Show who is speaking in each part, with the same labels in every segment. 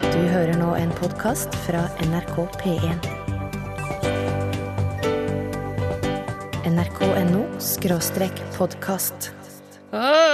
Speaker 1: Du hører nå en podkast fra NRK P1. NRK.no skråstrek podkast.
Speaker 2: Hei!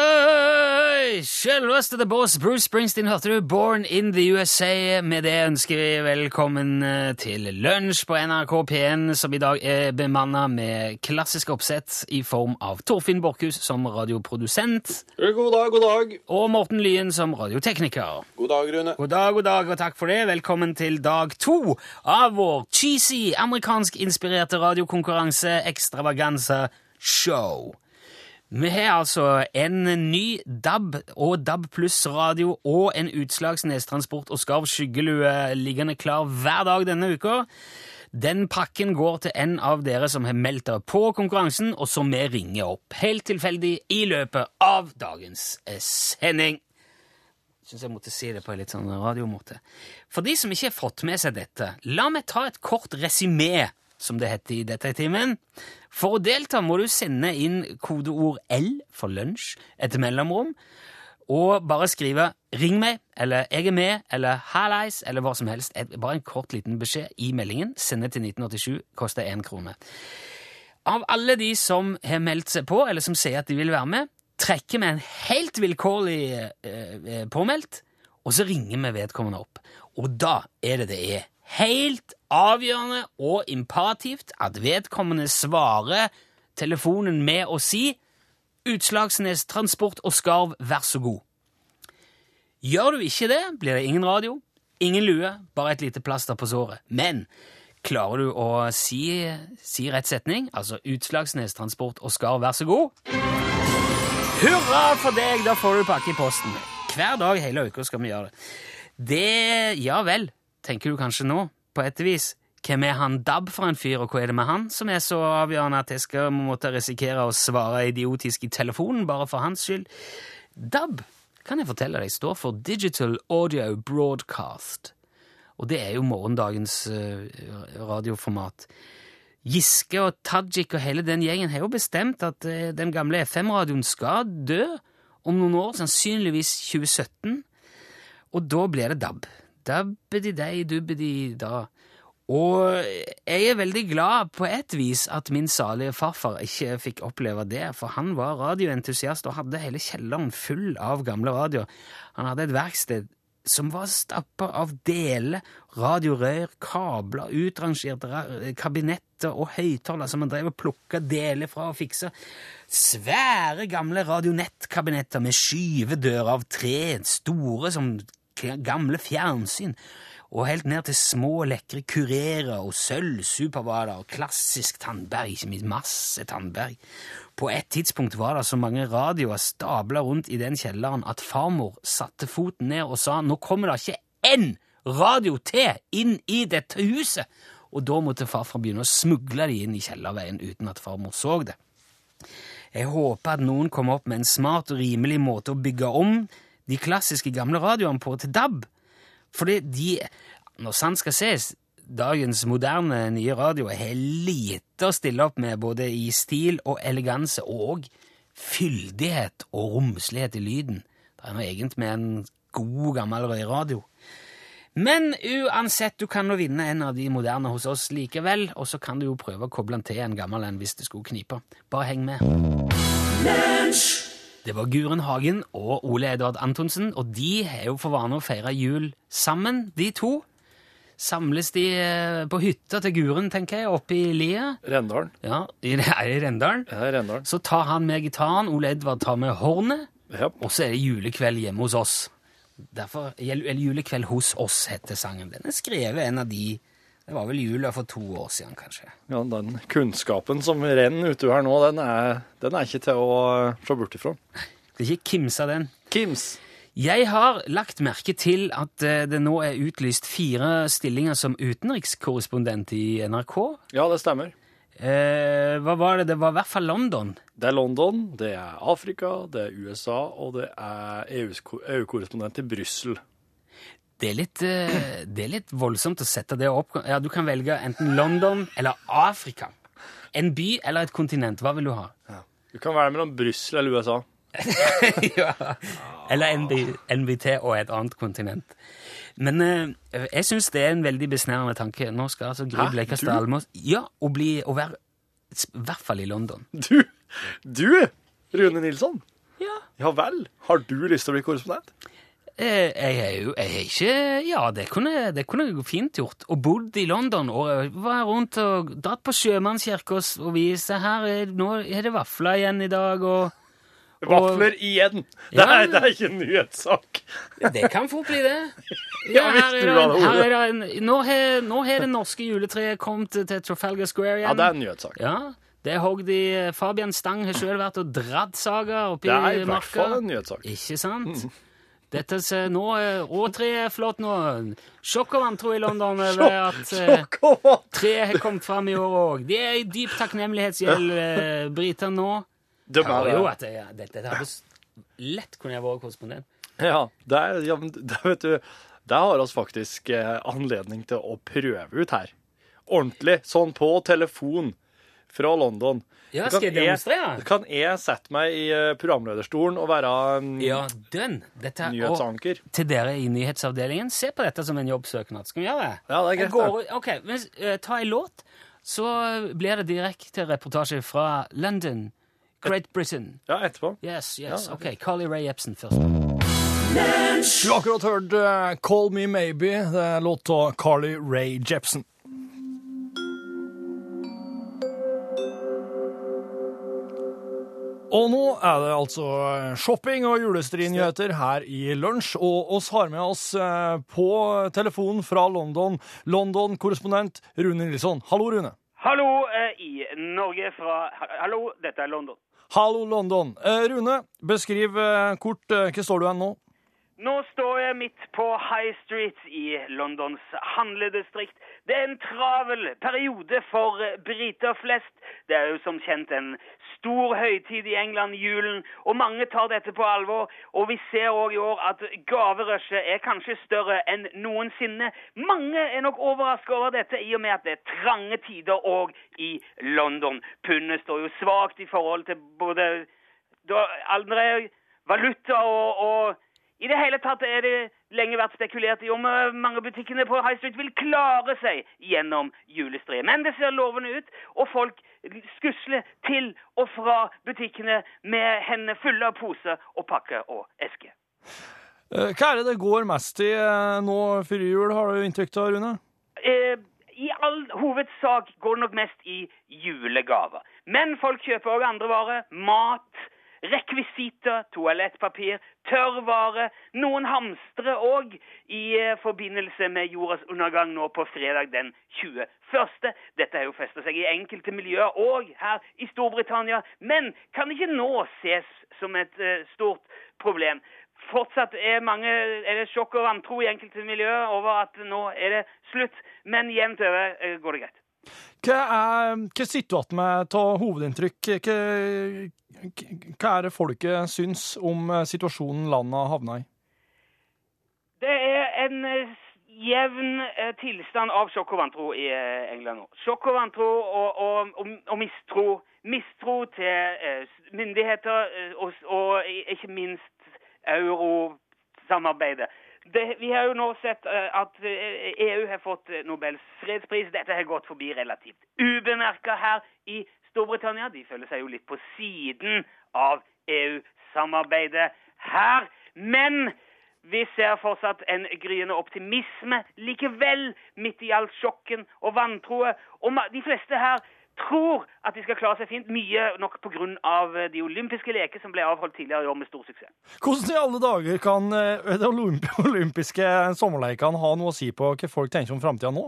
Speaker 2: Selveste The Boss Bruce Springsteen hørte du Born in the USA. Med det ønsker vi velkommen eh, til lunsj på NRK P1, som i dag er bemanna med klassisk oppsett i form av Torfinn Borchhus som radioprodusent
Speaker 3: God dag, god dag.
Speaker 2: og Morten Lyen som radiotekniker.
Speaker 3: God dag, Rune.
Speaker 2: God dag, god dag, og takk for det. Velkommen til dag to av vår cheesy amerikansk-inspirerte radiokonkurranse Extravaganza Show. Vi har altså en ny DAB og DAB pluss-radio og en utslags nestransport og skarv skyggelue liggende klar hver dag denne uka. Den pakken går til en av dere som har meldt dere på konkurransen, og som vi ringer opp helt tilfeldig i løpet av dagens eh, sending syns jeg måtte si det på en litt sånn radiomåte. For de som ikke har fått med seg dette, la meg ta et kort resymé, som det heter i dette timen. For å delta må du sende inn kodeord L for lunsj etter mellomrom, og bare skrive 'ring meg', eller 'jeg er med', eller 'hallais', eller hva som helst. Et- Bare en kort liten beskjed i meldingen. Sende til 1987, koster én krone. Av alle de som har meldt seg på, eller som sier at de vil være med, trekker vi en helt vilkårlig eh, eh, påmeldt, og så ringer vi vedkommende opp. Og da er det det er helt avgjørende og imperativt at vedkommende svarer telefonen med å si Utslagsnes Transport og Skarv, vær så god. Gjør du ikke det, blir det ingen radio, ingen lue, bare et lite plaster på såret. Men klarer du å si, si rett setning, altså Utslagsnes Transport og Skarv, vær så god, hurra for deg, da får du pakke i posten. Hver dag hele uka skal vi gjøre det. Det Ja vel, tenker du kanskje nå, på et vis. Hvem er han DAB for en fyr, og hva er det med han som er så avgjørende at jeg skal måtte risikere å svare idiotisk i telefonen bare for hans skyld? DAB kan jeg fortelle deg, står for Digital Audio Broadcast. Og det er jo morgendagens eh, radioformat. Giske og Tajik og hele den gjengen har jo bestemt at eh, den gamle FM-radioen skal dø om noen år, sannsynligvis 2017. Og da blir det DAB. Dabbedi-dei, dubbedi-da. Og jeg er veldig glad på et vis at min salige farfar ikke fikk oppleve det, for han var radioentusiast og hadde hele kjelleren full av gamle radioer. Han hadde et verksted som var stappa av deler, radiorør, kabler, utrangerte ra- kabinetter og høyttalere som han drev og plukka deler fra og fiksa. Svære, gamle radionettkabinetter med skyvedører av tre, store som k- gamle fjernsyn, og helt ned til små, lekre kurerer og sølvsupervader og klassisk tannberg, ikke minst masse tannberg. På et tidspunkt var det så mange radioer stabla rundt i den kjelleren at farmor satte foten ned og sa nå kommer det ikke én radio til inn i dette huset! Og da måtte farfar begynne å smugle de inn i kjellerveien uten at farmor så det. Jeg håper at noen kommer opp med en smart og rimelig måte å bygge om de klassiske gamle radioene på til DAB. Fordi de, når sant skal ses, dagens moderne nye radioer har lite å stille opp med både i stil og eleganse og fyldighet og romslighet i lyden. Det er noe egent med en god, gammel røyradio. Men uansett, du kan nå vinne en av de moderne hos oss likevel, og så kan du jo prøve å koble den til en gammel en hvis det skulle knipe. Bare heng med. Det var Guren Hagen og Ole Edvard Antonsen, og de har jo for vane å feire jul sammen, de to. Samles de eh, på hytta til Guren, tenker jeg, oppe i liet.
Speaker 4: Rendalen.
Speaker 2: Ja, i, her i Rendalen.
Speaker 4: Ja, Rendalen.
Speaker 2: Så tar han med gitaren, Ole Edvard tar med hornet,
Speaker 4: Ja.
Speaker 2: og så er det julekveld hjemme hos oss. Derfor, eller Julekveld hos oss heter sangen. Den er skrevet en av de Det var vel jula for to år siden, kanskje.
Speaker 4: ja, den kunnskapen som renner utover her nå, den er, den er ikke til å se bort ifra.
Speaker 2: Skal ikke kimse av den.
Speaker 4: Kims.
Speaker 2: Jeg har lagt merke til at eh, det nå er utlyst fire stillinger som utenrikskorrespondent i NRK.
Speaker 4: Ja, det stemmer.
Speaker 2: Eh, hva var det? Det var i hvert fall London.
Speaker 4: Det er London, det er Afrika, det er USA, og det er EUs ko- EU-korrespondent i Brussel.
Speaker 2: Det er, litt, eh, det er litt voldsomt å sette det opp. Ja, du kan velge enten London eller Afrika. En by eller et kontinent. Hva vil du ha?
Speaker 4: Du kan være mellom Brussel eller USA.
Speaker 2: ja.
Speaker 5: Eller NB, NBT og et annet kontinent. Men eh, jeg syns det er en veldig besnærende tanke. Nå skal altså Gry
Speaker 6: Hæ?
Speaker 5: Blekastad
Speaker 6: Du?
Speaker 5: Almås Ja, og bli og være s- i hvert fall i London.
Speaker 6: Du, du, Rune Nilsson.
Speaker 5: Ja.
Speaker 6: Ja vel. Har du lyst til å bli korrespondent?
Speaker 5: Eh, Jeg er jo jeg er ikke Ja, det kunne, det kunne jeg jo fint gjort. Og bodd i London og var rundt og dratt på sjømannskirka og, og vise her er, Nå er det vafler igjen i dag, og
Speaker 6: Vafler igjen! Det
Speaker 5: Ja.
Speaker 6: er, det er ikke en nyhetssak.
Speaker 5: Det kan fort bli det.
Speaker 6: Ja, hvis
Speaker 5: her er
Speaker 6: du
Speaker 5: det en-
Speaker 6: hadde
Speaker 5: her er det en- Nå har- nå har det norske juletreet kommet til Trafalgar Square
Speaker 6: Ja,
Speaker 5: igjen.
Speaker 6: det er en nyhetssak.
Speaker 5: Ja, det er hogd i eh, Fabian Stang har sjøl vært og dratt saga oppi
Speaker 6: Det er i hvert fall
Speaker 5: marka.
Speaker 6: en nyhetssak.
Speaker 5: Ikke sant?
Speaker 6: Mm.
Speaker 5: Dette ser nå eh, Råtreet er flott nå. Sjokk og vantro i London over at eh,
Speaker 6: Kom an.
Speaker 5: treet har kommet fram i år òg. De er i dyp takknemlighetsgjeld, eh, briter, nå.
Speaker 6: De
Speaker 5: Ja,
Speaker 6: er
Speaker 5: jo,
Speaker 6: det.
Speaker 5: at jeg, dette hadde s- lett kunne jeg vært korrespondent.
Speaker 6: Ja, det er, ja, men det vet du, det har oss faktisk eh, anledning til å prøve ut her. Ordentlig, sånn på telefon fra London.
Speaker 5: Ja,
Speaker 6: Da
Speaker 5: skal jeg
Speaker 6: da
Speaker 5: demonstrere?
Speaker 6: Kan jeg sette meg i eh, programlederstolen og være mm,
Speaker 5: Ja, dønn! Dette er og-
Speaker 6: nyhetsanker?
Speaker 5: til dere i nyhetsavdelingen, se på dette som en jobbsøknad. Skal vi gjøre det?
Speaker 6: Ja, det er
Speaker 5: Jeg
Speaker 6: greit,
Speaker 5: går, ut- ok, men, eh, Ta en låt, så blir det direkte reportasje fra London. Great Britain.
Speaker 6: Ja, etterpå.
Speaker 5: Yes, yes. Ok, Carly Rae Jepsen først.
Speaker 7: Du har akkurat hørt eh, Call Me Maybe, det er låt av Carly Rae Jepsen. Og nå er det altså shopping og julestrinyheter her i lunsj, og oss har med oss eh, på telefonen fra London, London-korrespondent Rune Nilsson. Hallo, Rune.
Speaker 2: Hallo eh, i Norge fra Hallo, dette er London.
Speaker 7: Hallo, London. Eh, Rune, beskriv eh, kort eh, hva står du hen nå.
Speaker 2: Nå står jeg midt på High Street i Londons handledistrikt. Det er en travel periode for eh, briter flest. Det er jo som kjent en stor høytid i England, julen, og mange tar dette på alvor. Og vi ser òg i år at gaverushet er kanskje større enn noensinne. Mange er nok overraska over dette i og med at det er trange tider òg i London. Pundet står jo svakt i forhold til både da andre valuta og, og i det hele tatt er det lenge vært spekulert i om eh, mange butikkene på High Street vil klare seg gjennom julestreet. Men det ser lovende ut, og folk skusler til og fra butikkene med hendene fulle av poser og pakker og esker.
Speaker 7: Eh, Hva er det det går mest i eh, nå før jul, har du inntrykk av, Rune?
Speaker 2: eh, i all hovedsak går det nok mest i julegaver. Men folk kjøper òg andre varer. Mat, rekvisitter, toalettpapir, tørrvare. Noen hamstrer òg i eh, forbindelse med jordas undergang nå på fredag den 21. Dette har jo festa seg i enkelte miljøer òg her i Storbritannia, men kan ikke nå ses som et eh, stort problem. Fortsatt er mange er det sjokk og vantro i enkelte miljøer over at nå er det slutt, men jevnt over eh, går det greit.
Speaker 7: Hva, er, hva sitter du igjen med av hovedinntrykk? Hva, hva er det folket syns om eh, situasjonen landet har havna i?
Speaker 2: Det er en eh, jevn eh, tilstand av sjokk og vantro i eh, England nå. Sjokk og vantro og, og, og, og mistro. Mistro til eh, s- myndigheter eh, og, s- og i- ikke minst eurosamarbeidet. Det, vi har jo nå sett eh, at eh, EU har fått eh, Nobels fredspris. Dette har gått forbi relativt ubemerka her i Storbritannia. De føler seg jo litt på siden av EU-samarbeidet her. Men vi ser fortsatt en gryende optimisme likevel, midt i all sjokken og vantroet. Og ma- de fleste her tror at de skal klare seg fint, mye nok pga. eh, de olympiske leker som ble avholdt tidligere i år med stor suksess.
Speaker 7: Hvordan i alle dager kan eh, de olymp olympiske sommerleikene ha noe å si på hva folk tenker om framtida nå?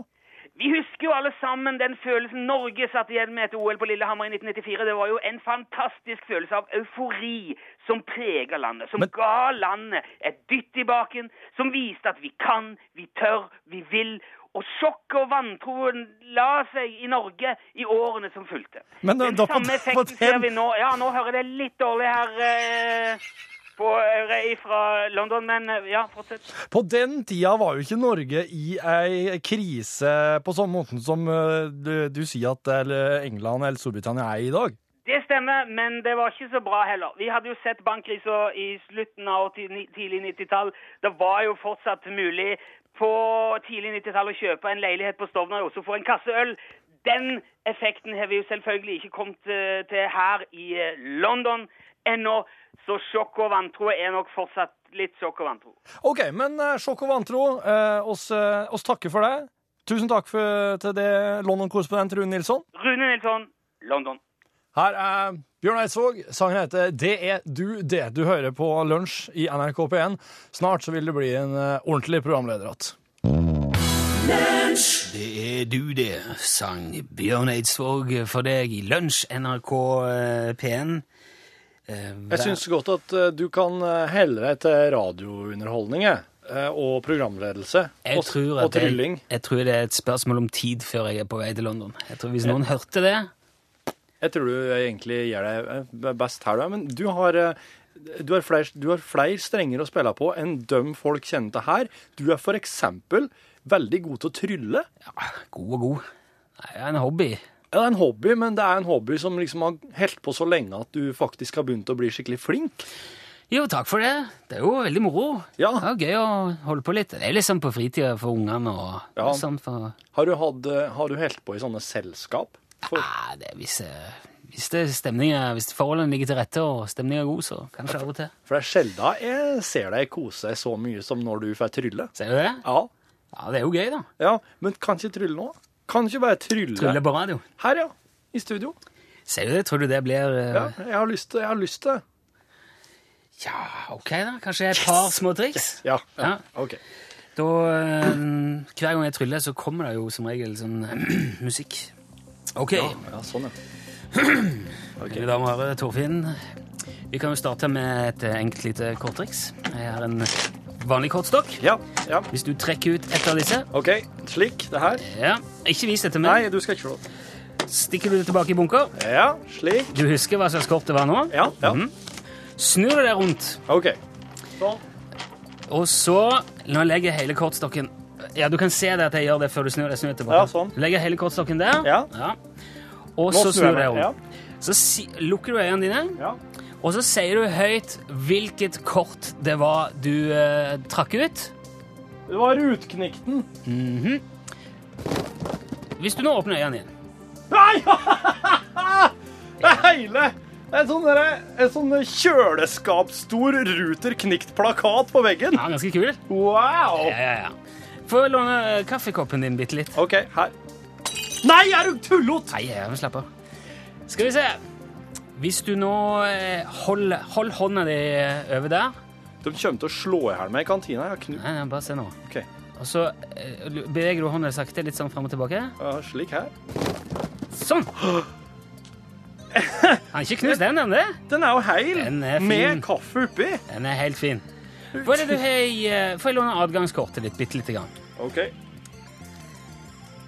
Speaker 2: Vi husker jo alle sammen den følelsen Norge satt igjen med etter OL på Lillehammer i 1994. Det var jo en fantastisk følelse av eufori som preger landet. Som
Speaker 7: Men-
Speaker 2: ga landet et dytt i baken. Som viste at vi kan, vi tør, vi vil. Og sjokket og vantroen la seg i Norge i årene som fulgte.
Speaker 7: Men, eh,
Speaker 2: den
Speaker 7: da på-
Speaker 2: samme
Speaker 7: på
Speaker 2: effekten ser
Speaker 7: den-
Speaker 2: vi nå. Ja, nå hører det litt dårlig her eh, på Rei fra London, men eh, ja, fortsett.
Speaker 7: På den tida var jo ikke Norge i ei krise på samme måten som eh, du, du sier at eller England eller Storbritannia er i dag.
Speaker 2: Det
Speaker 8: stemmer, men det var ikke så bra heller. Vi hadde jo sett bankkrisa i slutten av 80 tidlig 90-tall. Det var jo fortsatt mulig på tidlig 90-tall å kjøpe en leilighet på Stovner og også få en kasse øl. Den effekten har vi jo selvfølgelig ikke kommet eh, til her i eh, London ennå, så sjokk og vantro er nok fortsatt litt sjokk og vantro.
Speaker 9: OK, men eh, sjokk og vantro, eh, oss, eh, oss takker for det. Tusen takk for, til det, London-korrespondent Rune Nilsson.
Speaker 8: Rune Nilsson, London.
Speaker 9: Her er Bjørn Eidsvåg. Sangen heter 'Det er du, det'. Du hører på Lunsj i NRK P1. Snart så vil du bli en eh, ordentlig programleder igjen.
Speaker 2: Det er du det, sang Bjørn Eidsvåg for deg i Lunsj NRK eh, P1. Eh, hver-
Speaker 7: Jeg syns godt at eh, du kan eh, helle deg til radiounderholdning jeg, eh, og programledelse
Speaker 2: Jeg
Speaker 7: og,
Speaker 2: tror
Speaker 7: og
Speaker 2: at jeg-
Speaker 7: trylling.
Speaker 2: Jeg tror det er et spørsmål om tid før jeg er på vei til London. Jeg tror Hvis noen hørte det
Speaker 7: Jeg tror du eh, egentlig gjør deg eh, best her, du. Men du har, eh, du har, flere, du har flere strenger å spille på enn dem folk kjenner til her. Du er for eksempel veldig god til å trylle.
Speaker 2: ja, God og god. Nei, Det er en hobby.
Speaker 7: Ja, det er en hobby, men det er en hobby som liksom har holdt på så lenge at du faktisk har begynt å bli skikkelig flink.
Speaker 2: Jo, takk for det. Det er jo veldig moro.
Speaker 7: Ja.
Speaker 2: Det er gøy å holde på litt. Det er liksom på fritida for ungene og
Speaker 7: Ja.
Speaker 2: og sånn. For,
Speaker 7: Har du, hatt, eh, har du holdt på i sånne selskap? For,
Speaker 2: nei, det er hvis, eh, hvis, det er stemningen- hvis forholdene ligger til rette og stemninga er god, så kanskje av og til.
Speaker 7: for det er sjelden jeg ser deg kose deg så mye som når du får trylle.
Speaker 2: Ser du det?
Speaker 7: Ja,
Speaker 2: Ja, det er jo gøy, da.
Speaker 7: ja, men kan ikke trylle nå? Kan ikke bare trylle.
Speaker 2: Trylle på radio.
Speaker 7: Her, ja. I studio.
Speaker 2: Ser du det? Tror du det blir eh,
Speaker 7: Ja, jeg har lyst til, jeg har lyst til.
Speaker 2: ja, OK, da. Kanskje et par små triks?
Speaker 7: Ja,
Speaker 2: Ja.
Speaker 7: ok.
Speaker 2: Da, eh, hver gang jeg tryller, så kommer det jo som regel sånn musikk. Ok,
Speaker 7: Ja, sånn, ja.
Speaker 2: mine damer og herrer, Torfinn. Vi kan jo starte med et eh, enkelt lite korttriks. Jeg har en vanlig kortstokk.
Speaker 7: Ja, ja.
Speaker 2: Hvis du trekker ut et av disse
Speaker 7: Ok, slik, det her.
Speaker 2: ja, Ikke vis dette, men
Speaker 7: Nei, du skal ikke få lov.
Speaker 2: stikker du det tilbake i bunker.
Speaker 7: Ja, slik.
Speaker 2: Du husker hva slags kort det var nå? Mhm.
Speaker 7: Ja, ja.
Speaker 2: Snur du det rundt,
Speaker 7: Ok.
Speaker 2: og så Nå legger jeg hele kortstokken Ja, du kan se det at jeg gjør det før du snur det. Snur det tilbake.
Speaker 7: Ja, sånn.
Speaker 2: Legger hele kortstokken der.
Speaker 7: Ja.
Speaker 2: Og
Speaker 7: Nå
Speaker 2: så
Speaker 7: snur jeg
Speaker 2: snur jeg
Speaker 7: meg,
Speaker 2: rundt. Så si, lukker du øynene dine,
Speaker 7: Ja.
Speaker 2: og så sier du høyt hvilket kort det var du eh, trakk ut.
Speaker 7: Det var rutknikten.
Speaker 2: Hvis du nå åpner øynene igjen.
Speaker 7: Nei! Det er hele En sånn, derre- en sånn kjøleskapsstor Ruter Knikt-plakat på veggen.
Speaker 2: Ja, ganske kul.
Speaker 7: Wow!
Speaker 2: Ja, ja, ja. Få låne eh, kaffekoppen din bitte litt.
Speaker 7: OK, her. Nei, er du tullot?
Speaker 2: Nei, jeg slapp av. Skal vi se. Hvis du nå eh, hold, hold hånda di eh, over der
Speaker 7: De kommer til å slå i hjel meg i kantina. Jeg har knu...
Speaker 2: Nei, nei, bare se nå.
Speaker 7: Ok.
Speaker 2: Og så eh, beveger du hånda sakte litt sånn fram og tilbake.
Speaker 7: Ja, slik her.
Speaker 2: Sånn. Han er ikke knust den, den der.
Speaker 7: Den er jo heil.
Speaker 2: Den er fin.
Speaker 7: Med kaffe oppi.
Speaker 2: Den er helt fin. Hva er det du har i eh, Får jeg låne adgangskortet ditt bitte lite grann?
Speaker 7: OK.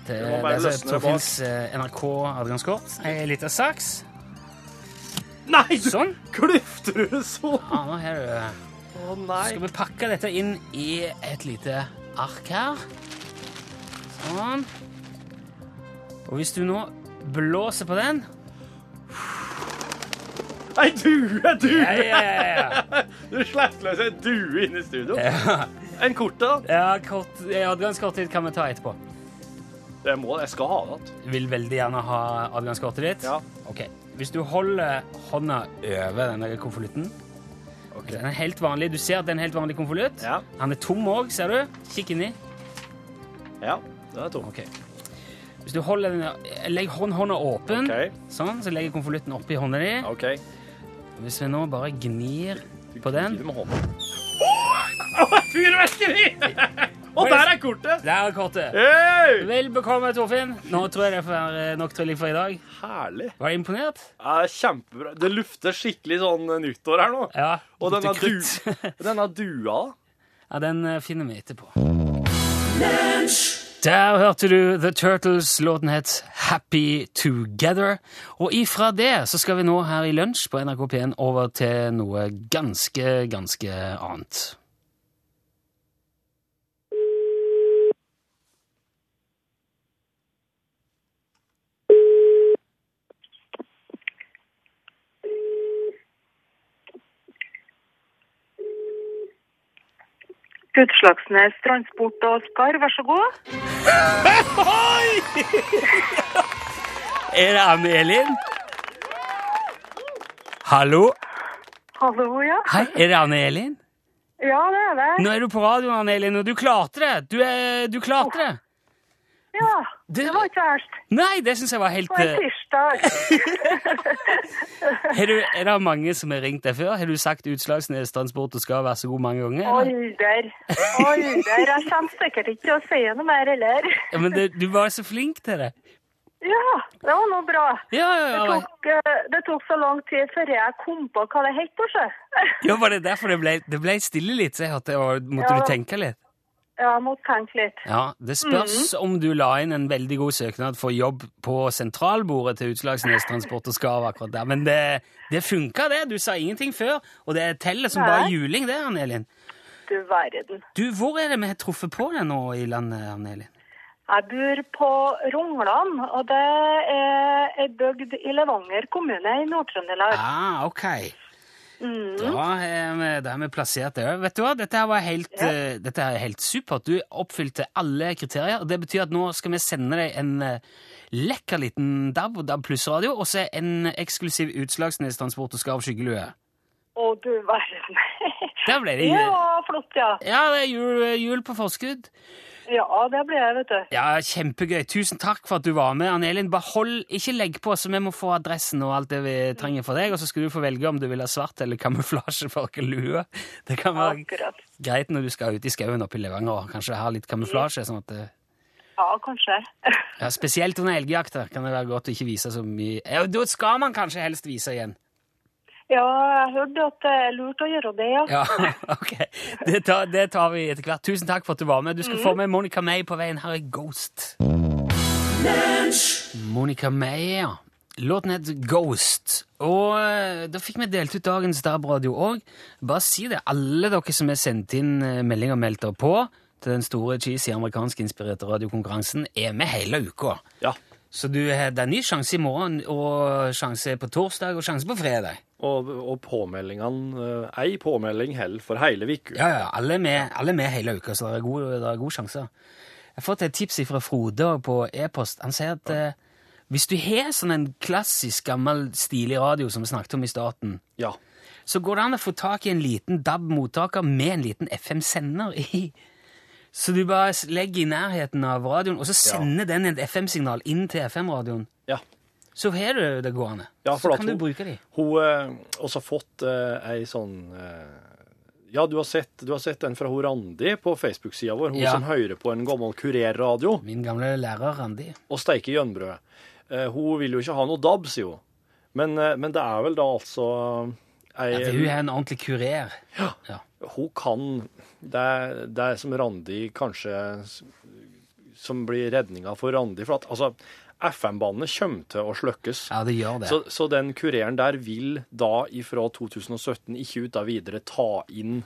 Speaker 2: Det,
Speaker 7: må
Speaker 2: det
Speaker 7: bare
Speaker 2: er
Speaker 7: løsne det bak.
Speaker 2: Torfinns NRK-adgangskort. Ei lita saks.
Speaker 7: Nei, du
Speaker 2: Sånn.
Speaker 7: kløfter du sånn?
Speaker 2: Ja, Ah, nå har du det.
Speaker 7: Å
Speaker 2: Skal
Speaker 7: nei.
Speaker 2: vi pakke dette inn i et lite ark her. Sånn. Og hvis du nå blåser på den
Speaker 7: Ei due, ei due.
Speaker 2: Ja, ja, ja, ja.
Speaker 7: Du slapp løs ei due inne i studio.
Speaker 2: ja.
Speaker 7: En kort, da.
Speaker 2: ja kort, adgangskortet ditt kan vi ta etterpå.
Speaker 7: Jeg må Jeg skal ha det igjen.
Speaker 2: Du vil veldig gjerne ha adgangskortet ditt?
Speaker 7: Ja.
Speaker 2: Ok. Hvis du holder hånda over den der konvolutten Den er helt vanlig. Du ser at det er en helt vanlig konvolutt.
Speaker 7: Ja.
Speaker 2: Han er tom òg, ser du. Kikk inni.
Speaker 7: Ja, den er tom.
Speaker 2: Ok. Hvis du holder den, Legg hånd, hånda åpen,
Speaker 7: Ok.
Speaker 2: sånn, så legger konvolutten oppi hånda di.
Speaker 7: OK.
Speaker 2: Hvis vi nå bare gnir på den
Speaker 7: Gi det med hånda. Å, Fyrverkeri! Og der er kortet!
Speaker 2: Der er kortet!
Speaker 7: Hey!
Speaker 2: Vel bekomme, Torfinn. Nå tror jeg det får være nok trylling for i dag.
Speaker 7: Herlig.
Speaker 2: Var du imponert?
Speaker 7: Ja, det er kjempebra. Det lukter skikkelig sånn nyttår her nå.
Speaker 2: Ja.
Speaker 7: Og
Speaker 2: litt
Speaker 7: denne,
Speaker 2: krutt.
Speaker 7: du, denne dua
Speaker 2: Ja, den eh, finner vi etterpå. Der hørte du The Turtles. Låten het Happy Together. Og ifra det så skal vi nå her i lunsj på NRK P1 over til noe ganske, ganske annet.
Speaker 10: Utslagsnes Transport og Oskar, vær så god.
Speaker 2: Er det Anne-Elin? Hallo?
Speaker 10: Hallo, ja.
Speaker 2: Hei, er det Anne-Elin?
Speaker 10: Ja, det er det.
Speaker 2: Nå er du på radioen, Anne-Elin, og du klarte det! Du, er, du klarte det!
Speaker 10: Ja,
Speaker 2: Det-
Speaker 10: det var ikke verst.
Speaker 2: Nei, det syns jeg var helt
Speaker 10: På en
Speaker 2: eh,
Speaker 10: tirsdag.
Speaker 2: har du, Er det mange som har ringt deg før? Har du sagt Utslagsnes Transport og skal være så god mange ganger? eller?
Speaker 10: Alder. Alder. Jeg kommer sikkert ikke til å si noe mer heller.
Speaker 2: Ja, men det, du var så flink til det.
Speaker 10: Ja, det var nå bra.
Speaker 2: Ja,
Speaker 10: Det
Speaker 2: ja, ja.
Speaker 10: tok, eh, det tok så lang tid før jeg kom på hva det het, kanskje.
Speaker 2: ja var det derfor det ble, det ble stille litt? Så jeg hørte, og måtte
Speaker 10: Ja.
Speaker 2: du tenke litt?
Speaker 10: Ja, jeg må tenke litt.
Speaker 2: Ja, Det spørs
Speaker 10: Mm.
Speaker 2: om du la inn en veldig god søknad for jobb på sentralbordet til Utslagsnes Transport og Skarv akkurat der, men det, det funka, det. Du sa ingenting før, og det teller som bare
Speaker 10: Nei.
Speaker 2: juling, det, Ann-Elin.
Speaker 10: Du verden.
Speaker 2: Du, hvor er det vi har truffet på deg nå i landet, Ann-Elin?
Speaker 10: Jeg bor på Rongland, og det er ei bygd i Levanger kommune i Nord-Trøndelag.
Speaker 2: Ah, ok.
Speaker 10: Mm.
Speaker 2: Da er vi, da er vi plassert der. Vet du hva, dette her var helt, eh, dette her er helt supert. Du oppfylte alle kriterier, og det betyr at nå skal vi sende deg en eh, lekker liten DAB og DAB pluss-radio, og så en eksklusiv Utslagsnes-transport og Skarv skyggelue.
Speaker 10: Å, du verden.
Speaker 2: Der ble det
Speaker 10: Det
Speaker 2: jul.
Speaker 10: var flott, ja.
Speaker 2: Ja, det er jul, jul på forskudd.
Speaker 10: Ja, det ble jeg, vet du.
Speaker 2: Ja, kjempegøy. Tusen takk for at du var med, Ann-Elin. Bare hold, ikke legg på, så vi må få adressen og alt det vi trenger for deg, og så skal du få velge om du vil ha svart eller kamuflasje for ikke lue. Det kan være
Speaker 10: Akkurat.
Speaker 2: greit når du skal ut i skauen oppe i Levanger og kanskje ha litt kamuflasje, sånn at det...
Speaker 10: Ja, kanskje.
Speaker 2: Ja, spesielt under elgjakter kan det være godt å ikke vise så mye. Ja, da skal man kanskje helst vise igjen.
Speaker 10: Ja, jeg hørte at det er lurt å gjøre det, ja.
Speaker 2: Ja, ok. Det tar, det tar vi etter hvert. Tusen takk for at du var med. Du skal få med Monica May på veien. Her er Ghost. Monica May, ja. Låten het Ghost. Og eh, da fikk vi delt ut dagens DAB-radio òg. Bare si det, alle dere som har sendt inn eh, meldinger og meldt dere på til den store cheesy amerikansk-inspirerte radiokonkurransen, er med hele uka.
Speaker 7: Ja.
Speaker 2: Så du har det er ny sjanse i morgen, og sjanse på torsdag, og sjanse på fredag.
Speaker 7: Og, og påmeldingene eh, Ei påmelding holder for hele uka.
Speaker 2: Ja, ja, alle er med, alle er med hele uka, så det er gode, det er gode sjanser. Jeg har fått et tips fra Frode på e-post. Han sier at eh, hvis du har sånn en klassisk, gammel, stilig radio som vi snakket om i starten,
Speaker 7: Ja.
Speaker 2: så går det an å få tak i en liten DAB-mottaker med en liten FM-sender i. Så du bare s- legger i nærheten av radioen, og så sender den et FM-signal inn til FM-radioen.
Speaker 7: ja.
Speaker 2: Så har du det gående.
Speaker 7: Ja, for
Speaker 2: så
Speaker 7: at
Speaker 2: kan du
Speaker 7: hun-
Speaker 2: bruke de.
Speaker 7: Hun har også fått eh, ei sånn eh, Ja, du har, sett, du har sett den fra hun Randi på Facebook-sida vår, hun
Speaker 2: Ja.
Speaker 7: som hører på en gammel kurerradio
Speaker 2: Min gamle lærer, Randi.
Speaker 7: og steiker gjønbrød. Eh, hun vil jo ikke ha noe DAB, sier hun. Men, eh, men det er vel da altså ei
Speaker 2: Ja, for hun er en ordentlig kurer. Ja.
Speaker 7: hun kan det er, det er som Randi kanskje s- Som blir redninga for Randi. For at altså, FM-banene kommer til å sløkkes.
Speaker 2: Ja, det gjør det.
Speaker 7: Så, så den kureren der vil da ifra 2017 ikke ut av videre ta inn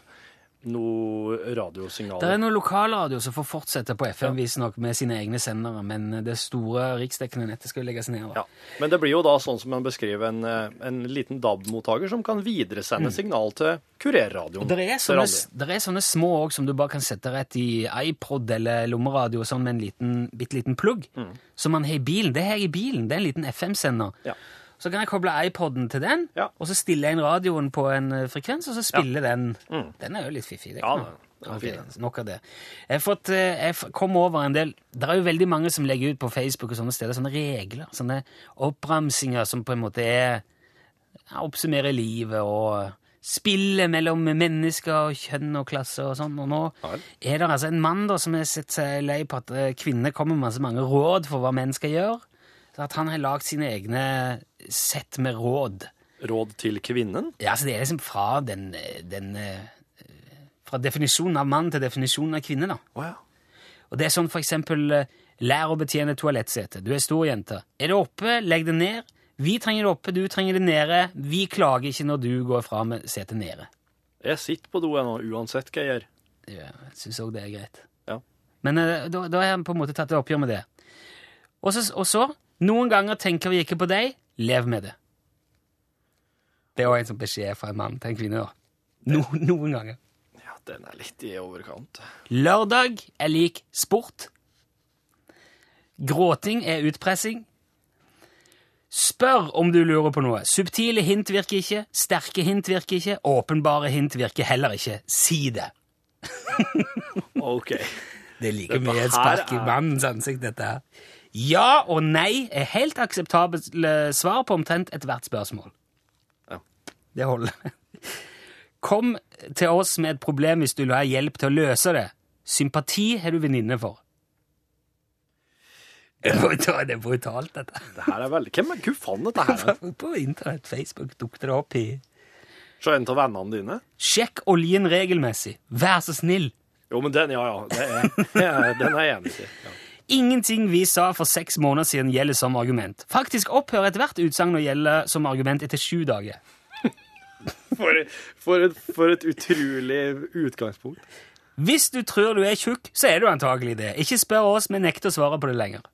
Speaker 7: noe
Speaker 2: Det er
Speaker 7: radiosignaler.
Speaker 2: noen lokalradio som får fortsette på FM, visstnok, med sine egne sendere, men det store riksdekkende nettet skal jo legges ned. da.
Speaker 7: Ja. Men det blir jo da sånn som man beskriver en, eh, en liten DAB-mottaker som kan videresende signal til kurerradioen.
Speaker 2: Og Det er,
Speaker 7: til
Speaker 2: sånne,
Speaker 7: Randi.
Speaker 2: det er sånne små òg som du bare kan sette rett i iPod eller lommeradio sånn med en liten, bitte liten plugg. Som man har i bilen. Det har jeg i bilen. Det er en liten FM-sender.
Speaker 7: Mm. Ja.
Speaker 2: Så kan jeg koble iPoden til den,
Speaker 7: Ja.
Speaker 2: og så stiller jeg inn radioen på en eh, frekvens, og så spiller den.
Speaker 7: Mm.
Speaker 2: Den er jo litt fiffig. det
Speaker 7: Ja,
Speaker 2: kan
Speaker 7: den-
Speaker 2: man. Ok, nok av det. Jeg, har fått, eh, jeg f- kom over en del Det er jo veldig mange som legger ut på Facebook og sånne steder sånne regler. Sånne oppramsinger som på en måte er ja, Oppsummerer livet og spillet mellom mennesker og kjønn og klasse og sånn. Og nå er det altså en mann da som har sett seg lei på at eh, kvinner kommer med så mange råd for hva menn skal gjøre. Så at han har lagd sine egne sett med råd.
Speaker 7: Råd til kvinnen?
Speaker 2: Ja, altså det er liksom fra den, eh, den eh, Fra definisjonen av mann til definisjonen av kvinne, da.
Speaker 7: Å ja.
Speaker 2: Og det er sånn for eksempel eh, Lær å betjene toalettsetet. Du er stor jente. Er det oppe, legg det ned. Vi trenger det oppe, du trenger det nede. Vi klager ikke når du går fra med setet nede.
Speaker 7: Jeg sitter på do jeg nå, uansett hva jeg gjør.
Speaker 2: Ja, Jeg syns òg det er greit.
Speaker 7: Ja.
Speaker 2: Men eh, da, da har jeg på en måte tatt et oppgjør med det. Og så, og så Noen ganger tenker vi ikke på deg. Lev med det. Det er òg en sånn beskjed fra en mann til en kvinne. da. No, noen ganger.
Speaker 7: Ja, Den er litt i overkant.
Speaker 2: Lørdag er lik sport. Gråting er utpressing. Spør om du lurer på noe. Subtile hint virker ikke, sterke hint virker ikke, åpenbare hint virker heller ikke. Si det.
Speaker 7: OK.
Speaker 2: Det er like
Speaker 7: Dette
Speaker 2: mye et
Speaker 7: her
Speaker 2: spark i
Speaker 7: er-
Speaker 2: mannens ansikt, dette her. Ja og nei er helt akseptable svar på omtrent ethvert spørsmål.
Speaker 7: Ja.
Speaker 2: Det holder. Kom til oss med et problem hvis du vil ha hjelp til å løse det. Sympati har du venninne for. Det er brutalt, det er brutalt dette.
Speaker 7: Det her er veldig Hvem er Hvor faen dette her? er?
Speaker 2: På internett, Facebook, dukker det opp i
Speaker 7: Se en av vennene dine.
Speaker 2: Sjekk oljen regelmessig. Vær så snill.
Speaker 7: Jo, men den, ja, ja. Det er, det er, den er jeg enig i. Ja.
Speaker 2: Ingenting vi sa for seks måneder siden gjelder som argument. Faktisk opphører ethvert utsagn å gjelde som argument etter sju dager.
Speaker 7: For, for, et, for et utrolig utgangspunkt.
Speaker 2: Hvis du tror du er tjukk, så er du antagelig det. Ikke spør oss, vi nekter å svare på det lenger.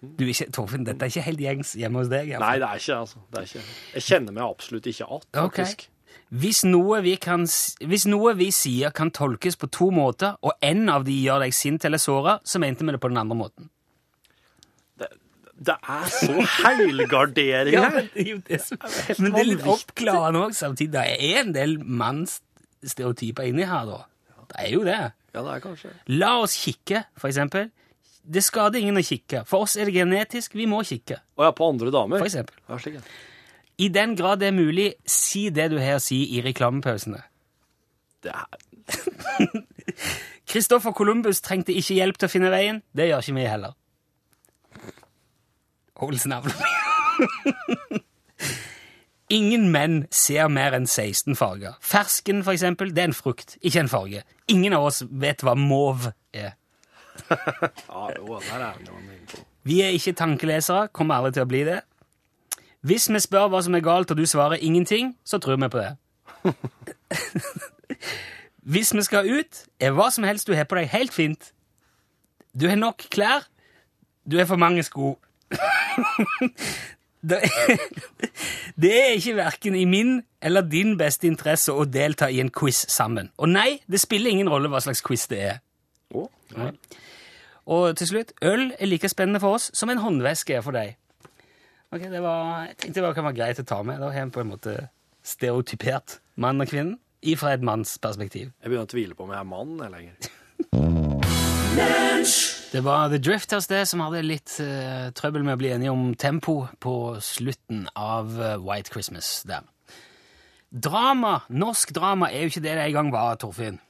Speaker 2: Du, ikke, Torfinn, dette er ikke helt gjengs hjemme hos deg. i hvert
Speaker 7: Nei,
Speaker 2: fall.
Speaker 7: det er ikke altså. det. Er ikke. Jeg kjenner meg absolutt ikke igjen,
Speaker 2: Ok.
Speaker 7: faktisk.
Speaker 2: Hvis noe, vi kan, s- hvis noe vi sier kan tolkes på to måter, og en av de gjør deg sint eller såra, så mente vi det på den andre måten.
Speaker 7: Det er så helgardering
Speaker 2: Ja,
Speaker 7: her!
Speaker 2: men det er jo det som Men det er litt
Speaker 7: vanvittig.
Speaker 2: oppklarende òg samtidig. Det er en del mannsstereotyper inni her, da. Det er jo det.
Speaker 7: Ja, det er kanskje
Speaker 2: La oss kikke, for eksempel. Det skader ingen å kikke. For oss er det genetisk, vi må kikke,
Speaker 7: Og jeg er på andre damer.
Speaker 2: for eksempel.
Speaker 7: Ja, slik, ja.
Speaker 2: I den grad det er mulig, si det du har å si i reklamepausene.
Speaker 7: Det er,
Speaker 2: Kristoffer Columbus trengte ikke hjelp til å finne veien. Det gjør ikke vi heller. Olsen avler Ingen menn ser mer enn 16 farger. Fersken, for eksempel, det er en frukt, ikke en farge. Ingen av oss vet hva mauve er.
Speaker 7: ja, jo, der er han inne på.
Speaker 2: Vi er ikke tankelesere, kommer aldri til å bli det. Hvis vi spør hva som er galt, og du svarer ingenting, så tror vi på det. Hvis vi skal ut, er hva som helst du har på deg, helt fint. Du har nok klær. Du har for mange sko. Det det er ikke verken i min eller din beste interesse å delta i en quiz sammen. Og nei, det spiller ingen rolle hva slags quiz det er.
Speaker 7: Å, ja.
Speaker 2: Og til slutt, øl er like spennende for oss som en håndveske er for deg. Ok, det var, Jeg tenkte det kan være greit å ta med. Da har jeg på en måte stereotypert mann og kvinnen ifra et manns perspektiv.
Speaker 7: Jeg begynner å tvile på om jeg er mann eller lenger.
Speaker 2: Det var The Drifters det som hadde litt eh, trøbbel med å bli enige om tempo på slutten av eh, White Christmas der. Drama, norsk drama, er jo ikke det det en gang var, Torfinn.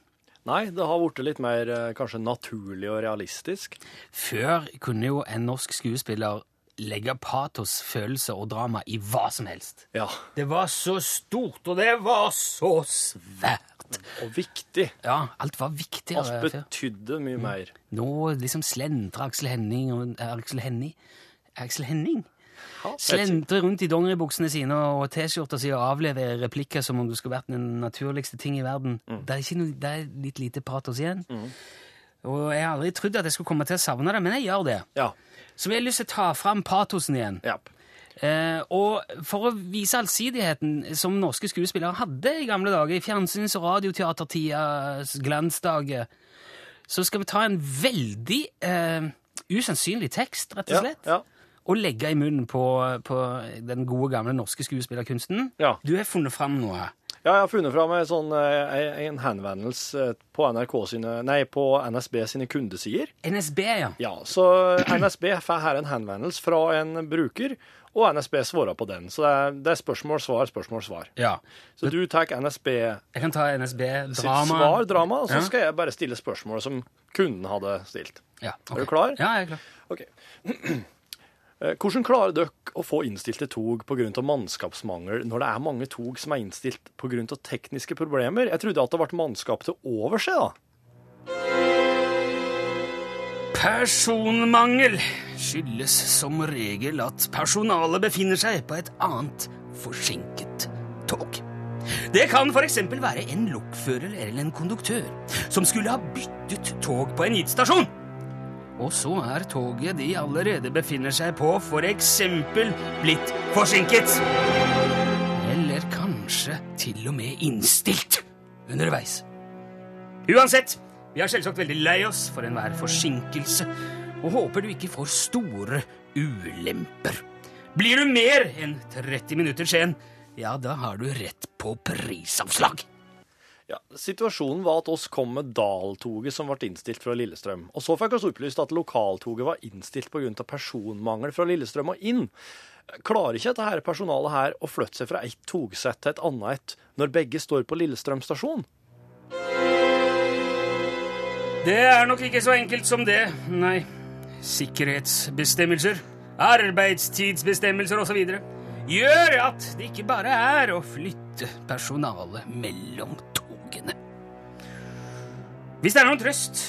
Speaker 7: Nei, det har blitt litt mer eh, kanskje naturlig og realistisk.
Speaker 2: Før kunne jo en norsk skuespiller legge patos, følelser og drama i hva som helst.
Speaker 7: Ja,
Speaker 2: Det var så stort, og det var så svært.
Speaker 7: og viktig.
Speaker 2: Ja, alt var
Speaker 7: Alt
Speaker 2: viktigere før.
Speaker 7: betydde mye
Speaker 2: Mm.
Speaker 7: mer.
Speaker 2: Nå liksom slentrer Aksel Henning og eh, Aksel Henning Aksel Henning?
Speaker 7: Ja,
Speaker 2: Slentrer rundt i dongeribuksene sine og T-skjorta si og avleverer replikker som om du skulle vært den naturligste ting i verden. Det, er ikke noe, det er litt lite patos igjen. Og jeg har aldri trodd at jeg skulle komme til å savne det, men jeg gjør det.
Speaker 7: Ja.
Speaker 2: Så vi har lyst til å ta fram patosen igjen.
Speaker 7: ja.
Speaker 2: Eh, og for å vise allsidigheten som norske skuespillere hadde i gamle dager, i fjernsyns- og radioteatertidas glansdager, så skal vi ta en veldig eh, usannsynlig tekst, rett og
Speaker 7: Ja,
Speaker 2: slett,
Speaker 7: ja.
Speaker 2: og legge i munnen på, på den gode, gamle norske skuespillerkunsten.
Speaker 7: Ja.
Speaker 2: Du har funnet fram noe.
Speaker 7: Ja, jeg har funnet fram en, sånn, eh, en henvendelse eh, på, NRK sine, nei, på NSB sine kundesider.
Speaker 2: NSB, ja.
Speaker 7: Ja, så NSB får her en henvendelse fra en bruker, og NSB svarer på den. Så det er, det er spørsmål, svar, spørsmål, svar.
Speaker 2: ja.
Speaker 7: Så du tar NSB
Speaker 2: Jeg kan ta
Speaker 7: sitt
Speaker 2: NSB-drama.
Speaker 7: svar, drama, og
Speaker 2: Ja.
Speaker 7: så skal jeg bare stille spørsmål som kunden hadde stilt.
Speaker 2: Ja, ok.
Speaker 7: Er du klar?
Speaker 2: Ja, jeg er klar.
Speaker 7: Ok. Eh, Hvordan klarer dere å få innstilte tog pga. mannskapsmangel når det er mange tog som er innstilt pga. tekniske problemer? Jeg trodde at det ble mannskap til overs, jeg, da.
Speaker 2: Personmangel skyldes som regel at personalet befinner seg på et annet forsinket tog. Det kan f.eks. være en lokfører eller en konduktør som skulle ha byttet tog på en gitt stasjon. Og så er toget de allerede befinner seg på, f.eks. blitt forsinket. Eller kanskje til og med innstilt. underveis. Uansett, vi er selvsagt veldig lei oss for enhver forsinkelse, og håper du ikke får store ulemper. Blir du mer enn 30 minutter sen, ja, da har du rett på prisavslag.
Speaker 4: Ja, situasjonen var at oss kom med Dal-toget som ble innstilt fra Lillestrøm. Og så fikk oss opplyst at lokaltoget var innstilt pga. personmangel fra Lillestrøm og inn. Klarer ikke dette her personalet her å flytte seg fra ett togsett til et annet et, når begge står på Lillestrøm stasjon?
Speaker 2: Det er nok ikke så enkelt som det, nei. Sikkerhetsbestemmelser, arbeidstidsbestemmelser osv. gjør at det ikke bare er å flytte personalet mellom togene. Hvis det er noen trøst,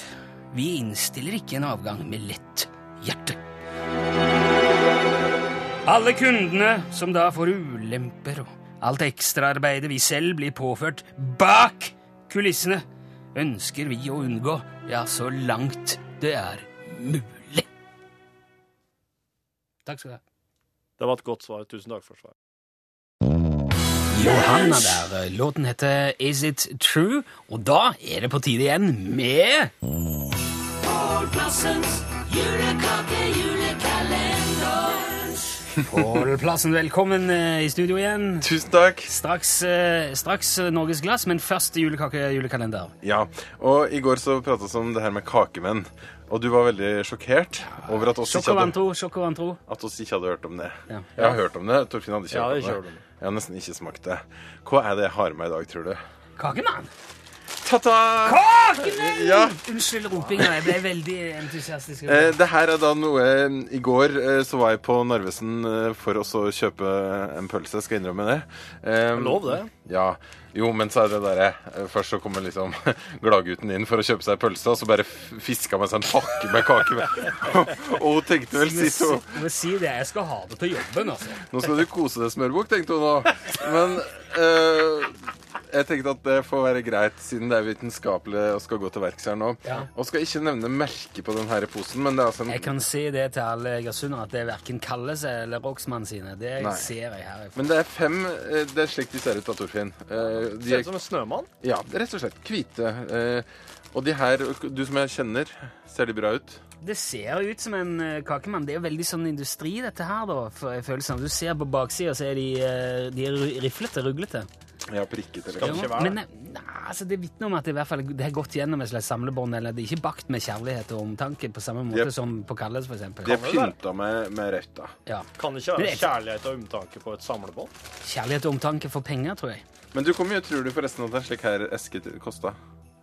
Speaker 2: vi innstiller ikke en avgang med lett hjerte. Alle kundene som da får ulemper og alt ekstraarbeidet vi selv blir påført bak kulissene, ønsker vi å unngå, ja, så langt det er mulig. Takk skal du ha.
Speaker 4: Det var et godt svar. Tusen takk for svaret.
Speaker 2: Johanna der. Låten heter Is It True, og da er det på tide igjen med Pål Plassen, velkommen eh, i studio igjen.
Speaker 11: Tusen takk.
Speaker 2: Straks, eh, straks eh, Norges Glass, men først julekake-julekalender.
Speaker 11: Ja, og i går så prata vi om det her med kakemenn. Og du var veldig sjokkert over at oss ikke hadde,
Speaker 2: Sjokkovantro, sjokkovantro.
Speaker 11: at oss ikke hadde hørt om det.
Speaker 2: Ja.
Speaker 11: Jeg har hørt om det. Torfinn hadde ikke
Speaker 4: Ja,
Speaker 11: hørt
Speaker 4: jeg
Speaker 11: om
Speaker 4: kjørte om
Speaker 11: det.
Speaker 4: det.
Speaker 11: Jeg har nesten ikke smakt det. Hva er det jeg har med i dag, tror du?
Speaker 2: Kakemann!
Speaker 11: Ta-ta!
Speaker 2: Kakemann!
Speaker 11: Ja.
Speaker 2: Unnskyld ropinga, jeg ble veldig entusiastisk.
Speaker 11: Eh, det her er da noe I går eh, så var jeg på Narvesen eh, for å så kjøpe en pølse. Skal jeg innrømme det. Eh,
Speaker 4: Lov det.
Speaker 11: Ja. Jo, men så er det derre eh, Først så kommer liksom gladgutten inn for å kjøpe seg pølse, og så bare f- fiska med seg en pakke med kake med. og hun tenkte vel
Speaker 2: Men
Speaker 11: sitt
Speaker 2: si,
Speaker 11: hun
Speaker 2: men si det, jeg skal ha det til jobben, altså.
Speaker 11: Nå skal du kose deg, smørbukk, tenkte hun nå. Men eh, jeg tenkte at det får være greit, siden det er vitenskapelig og skal gå til verks her nå.
Speaker 2: Ja.
Speaker 11: Og skal ikke nevne merket på den her posen, men det er altså en
Speaker 2: Jeg kan si det til alle egersundere, at det er verken Kalles eller Roxman sine. Det
Speaker 11: Nei.
Speaker 2: ser jeg her.
Speaker 11: Men det er fem eh, Det er slik de ser ut, da, Torfinn. Eh, De
Speaker 4: Ser
Speaker 11: er,
Speaker 4: ut som en snømann.
Speaker 11: ja, rett og slett. Hvite. eh, Og de her, du som jeg kjenner, ser de bra ut?
Speaker 2: Det ser ut som en eh, kakemann. Det er jo veldig sånn industri, dette her, da. For jeg føler sånn, Du ser på baksida, så er de, eh, de er ru- riflete, ruglete.
Speaker 11: Ja, prikket eller
Speaker 4: Skal-
Speaker 11: noe.
Speaker 4: ikke være
Speaker 2: Men eh, nei, altså, det vitner om at det, i hvert fall, det er gått gjennom et slags samlebånd. Eller det er ikke bakt med kjærlighet og omtanke på samme måte
Speaker 11: Yep.
Speaker 2: som på Kalles, for eksempel.
Speaker 11: De er pynta med, med rødt, da.
Speaker 2: Ja.
Speaker 4: Kan det ikke
Speaker 2: Men
Speaker 4: være
Speaker 2: jeg-
Speaker 4: kjærlighet og omtanke på et samlebånd?
Speaker 2: Kjærlighet og omtanke for penger, tror jeg.
Speaker 11: Men du, hvor mye tror du forresten at en slik her eske t- kosta?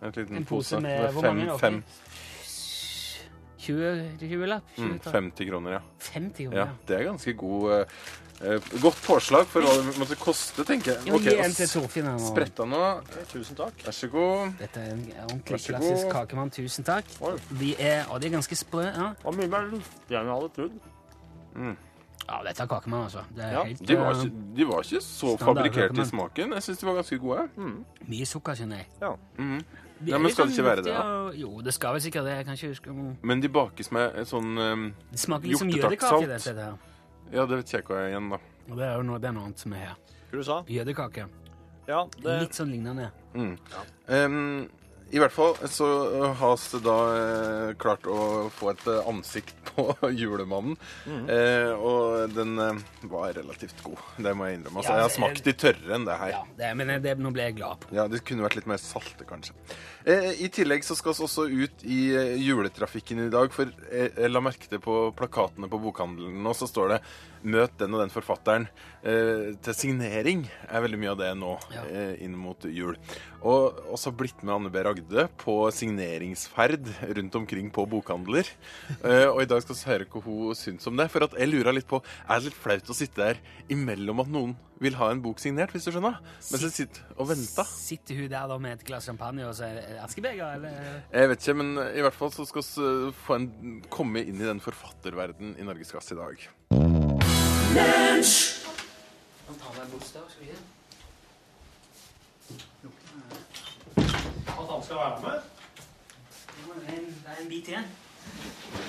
Speaker 11: En liten
Speaker 2: En pose med hvor
Speaker 11: fem,
Speaker 2: mange, da?
Speaker 11: fem,
Speaker 2: 20 20-lapp?
Speaker 11: mm, 50 kroner, ja.
Speaker 2: 50
Speaker 11: ja.
Speaker 2: kroner.
Speaker 11: Det er ganske god eh, eh, Godt påslag for hva det måtte koste, tenker jeg.
Speaker 2: Jeg må
Speaker 11: Ok,
Speaker 2: gi
Speaker 11: da
Speaker 2: en til Torfinn her nå.
Speaker 11: Spretta nå.
Speaker 4: Tusen takk.
Speaker 11: Vær så god.
Speaker 2: Dette er en ordentlig
Speaker 11: Vær så
Speaker 2: klassisk
Speaker 11: god.
Speaker 2: kakemann. Tusen takk.
Speaker 4: Oi.
Speaker 2: De er, og de er ganske sprø. Ja,
Speaker 4: Det var mye mer luftig enn jeg hadde trodd.
Speaker 2: ja dette er kakemann, altså. Det er
Speaker 4: Ja,
Speaker 2: helt,
Speaker 11: De var
Speaker 2: eh,
Speaker 11: ikke, de var ikke så
Speaker 2: Standard,
Speaker 11: fabrikkert i
Speaker 2: men-
Speaker 11: smaken. Jeg syns de var ganske gode.
Speaker 2: Mye sukker, skjønner jeg.
Speaker 4: Ja.
Speaker 11: Mhm.
Speaker 2: De
Speaker 11: Ja,
Speaker 2: er
Speaker 11: men
Speaker 2: litt
Speaker 11: skal det
Speaker 2: sånn
Speaker 11: ikke være det,
Speaker 2: luftige og- Jo, det skal vel sikkert det. Jeg kan ikke huske om...
Speaker 11: Men de bakes med et sånn eh,
Speaker 2: Det smaker litt som
Speaker 11: Hjortetakksalt.
Speaker 2: jødekake, dette her.
Speaker 11: Ja, det vet jeg ikke hva jeg er igjen, da.
Speaker 2: Og det er jo noe, det er noe annet som er her.
Speaker 4: Hva du sa?
Speaker 2: Jødekake.
Speaker 4: Ja, det
Speaker 2: Litt sånn lignende.
Speaker 11: Ehm, I hvert fall så has det da eh, klart å få et eh, ansikt på julemannen.
Speaker 2: Mhm.
Speaker 11: Eh, og den eh, var relativt god, det må jeg innrømme. Altså,
Speaker 2: Ja,
Speaker 11: jeg har
Speaker 2: det-
Speaker 11: smakt de tørre enn det her.
Speaker 2: Ja, det er, men det, nå ble jeg glad på.
Speaker 11: Ja, Det kunne vært litt mer salte, kanskje. Eh, I tillegg så skal vi også ut i eh, juletrafikken i dag. For eh, jeg la merke til på plakatene på bokhandelen nå, så står det 'Møt den og den forfatteren' eh, til signering. er veldig mye av det nå
Speaker 2: Ja.
Speaker 11: eh, inn mot jul. Og også blitt med Anne B. Ragde på signeringsferd rundt omkring på bokhandler. Eh, og i dag skal vi høre hva hun syns om det. For at jeg lurer litt på Er det litt flaut å sitte der imellom at noen vil ha en bok signert, hvis du skjønner? Mens jeg sitter og venter.
Speaker 2: Sitter hun der da med et glass champagne og så er det askebeger, eller?
Speaker 11: Jeg vet ikke, men i hvert fall så skal vi eh, få en, komme inn i den forfatterverdenen i Norges Gass i dag.
Speaker 2: Han tar meg bort der, skal vi se.
Speaker 4: At han skal være med?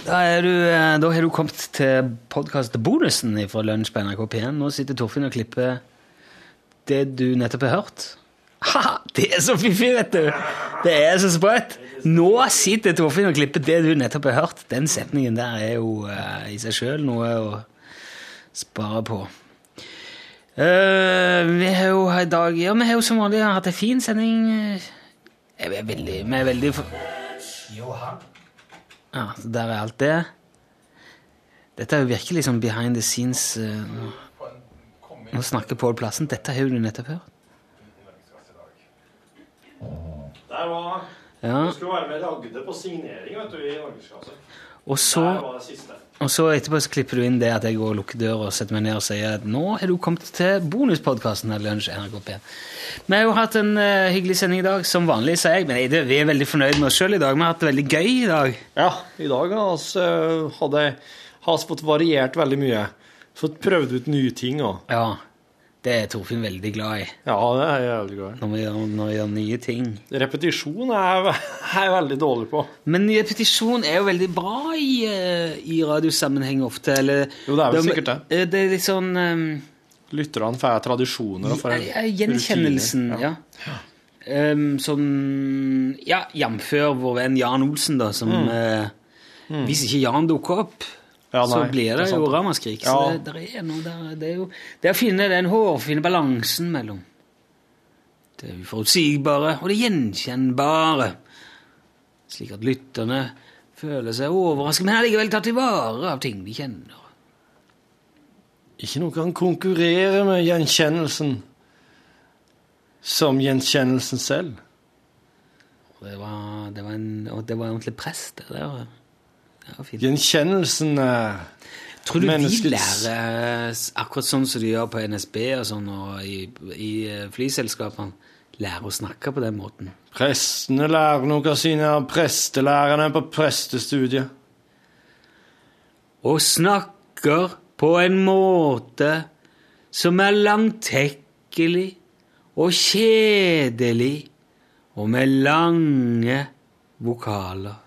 Speaker 2: Da, er du, eh, da har du kommet til podkastbonusen fra Lunsj på NRK P1. Nå sitter Torfinn og klipper det du nettopp har hørt. Ha, det er så fiffig, vet du! Det er så sprøtt! Nå sitter Torfinn og klipper det du nettopp har hørt. Den setningen der er jo eh, i seg sjøl noe å spare på. Eh, vi har jo i dag Ja, vi har jo som vanlig hatt en fin sending. Eh, Vi er veldig, vi er veldig for... Ja, så der er alt det. Dette er jo virkelig sånn behind the scenes. eh, nå- nå snakker Pål Plassen. Dette har jo du nettopp hørt.
Speaker 3: Der var
Speaker 2: Ja,
Speaker 3: skulle være med Ragde på signering vet du, i Norgesklasse.
Speaker 2: og så,
Speaker 3: det siste.
Speaker 2: og så etterpå så klipper du inn det at jeg går og lukker døra og setter meg ned og sier at nå har du kommet til bonuspodkasten her, Lunsj NRK P1. Vi har jo hatt en eh, hyggelig sending i dag, som vanlig, sier jeg, men jeg- det- vi er veldig fornøyd med oss sjøl i dag. Vi har hatt det veldig gøy i dag.
Speaker 7: Ja, i dag har oss, eh, hadde har oss fått variert veldig mye. Fått prøvd ut nye ting òg.
Speaker 2: Ja, det er Torfinn veldig glad i,
Speaker 7: Ja, det er jeg jævlig glad i.
Speaker 2: når vi gjør, når vi gjør nye ting.
Speaker 7: Repetisjon er jeg er jeg veldig dårlig på.
Speaker 2: Men repetisjon er jo veldig bra i, eh, i radiosammenheng ofte, eller
Speaker 7: Jo, det er vel sikkert
Speaker 2: det. Det er litt sånn eh,
Speaker 7: Lytterne får tradisjoner. og får
Speaker 2: Ja, ja, Gjenkjennelsen,
Speaker 7: rutiner.
Speaker 2: ja. Ehm, sånn Ja, jf. vår venn Jan Olsen, da, som eh, Hvis ikke Jan dukker opp,
Speaker 7: Mm. Ja,
Speaker 2: så
Speaker 7: nei,
Speaker 2: blir det,
Speaker 7: det er
Speaker 2: jo
Speaker 7: sant.
Speaker 2: ramaskrik. Så
Speaker 7: Ja.
Speaker 2: det, der er noe der Det er jo det er å finne den hårfine balansen mellom det uforutsigbare og det gjenkjennbare, slik at lytterne føler seg overrasket, men allikevel tatt i vare av ting de kjenner.
Speaker 7: Ikke noe kan konkurrere med gjenkjennelsen som gjenkjennelsen selv.
Speaker 2: Det var, det var, en, og det var en ordentlig press, det der. Det var fint.
Speaker 7: Gjenkjennelsen er
Speaker 2: Tror du de
Speaker 7: menneskets-
Speaker 2: lærer s- akkurat sånn som de gjør på NSB og sånn, og i, i eh, flyselskapene, lærer å snakke på den måten?
Speaker 7: Prestene lærer noe av sine prestelærerne på prestestudiet.
Speaker 2: Og snakker på en måte som er langtekkelig og kjedelig, og med lange vokaler.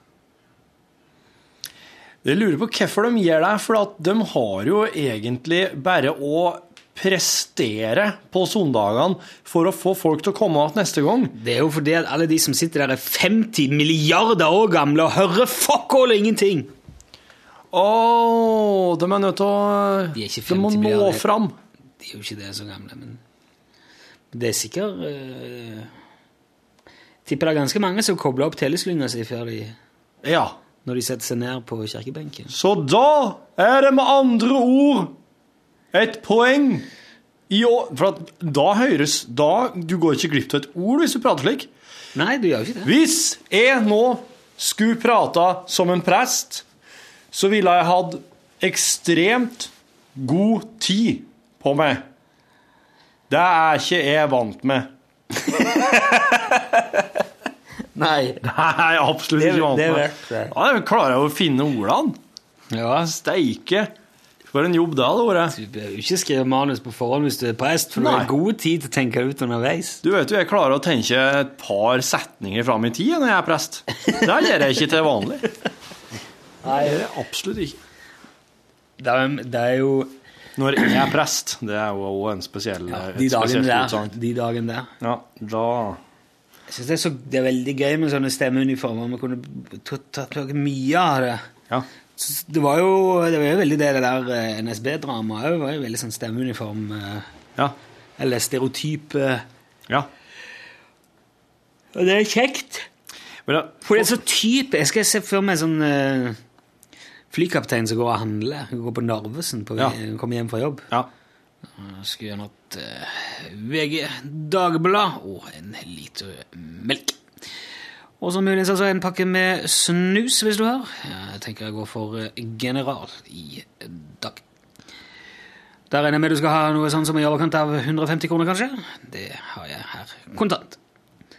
Speaker 7: Jeg lurer på hvorfor de gjør det, for at de har jo egentlig bare å prestere på søndagene for å få folk til å komme igjen neste gang.
Speaker 2: Det er jo fordi at alle de som sitter der, er 50 milliarder år gamle og hører fuck all og ingenting!
Speaker 7: Å, de er nødt til å
Speaker 2: De er ikke
Speaker 7: må
Speaker 2: 50
Speaker 7: nå
Speaker 2: milliarder.
Speaker 7: fram.
Speaker 2: De er jo ikke det så gamle, men det er sikkert eh, Tipper det er ganske mange som kobler opp teleslynga si før de
Speaker 7: Ja.
Speaker 2: når de setter seg ned på kirkebenken.
Speaker 7: Så da er det med andre ord et poeng i å For at da høres da, Du går ikke glipp av et ord hvis du prater slik.
Speaker 2: Nei, du gjør jo ikke det.
Speaker 7: Hvis jeg nå skulle prata som en prest, så ville jeg hatt ekstremt god tid på meg. Det er ikke jeg vant med.
Speaker 2: Nei.
Speaker 7: Nei, absolutt
Speaker 2: Det-
Speaker 7: ikke vant
Speaker 2: det
Speaker 7: med.
Speaker 2: vet jeg.
Speaker 7: Ja, jeg klarer jo å finne ordene.
Speaker 2: Ja,
Speaker 7: Steike. For en jobb det hadde vært.
Speaker 2: du bør jo ikke skrive manus på forhånd hvis du er prest, for du
Speaker 7: Nei.
Speaker 2: har god tid til å tenke ut underveis.
Speaker 7: Du vet jo, jeg klarer å tenke et par setninger fram i tid når jeg er prest. Det gjør jeg ikke til vanlig. Nei, det gjør jeg absolutt ikke.
Speaker 2: Det er, det er jo
Speaker 7: Når jeg er prest, det er jo også en spesiell
Speaker 2: ja,
Speaker 7: et
Speaker 2: de dagene
Speaker 7: spesielt
Speaker 2: der.
Speaker 7: utsagn.
Speaker 2: De dagen der.
Speaker 7: Ja, da
Speaker 2: Jeg synes det, er så, det er veldig gøy med sånne stemmeuniformer. Vi kunne tatt- tatt vekk mye av det.
Speaker 7: Ja.
Speaker 2: Så Det var jo, det var jo veldig det, det der eh, NSB-dramaet òg. Var jo veldig sånn stemmeuniform eh,
Speaker 7: Ja.
Speaker 2: Eller stereotyp. eh.
Speaker 7: ja.
Speaker 2: Og det er kjekt.
Speaker 7: Men da,
Speaker 2: For det er så type. Jeg skal se for meg sånn eh, flykaptein som går og handler. Hun går på Narvesen på
Speaker 7: Ja.
Speaker 2: hun kommer hjem fra jobb.
Speaker 7: ja.
Speaker 2: Jeg Skulle gjøre noe eh, VG, Dagblad og en liter melk. Og så muligens altså en pakke med snus, hvis du har. Jeg tenker jeg går for eh, General i dag. Der regner jeg med du skal ha noe sånn som i overkant av 150 kroner, kanskje? Det har jeg her kontant.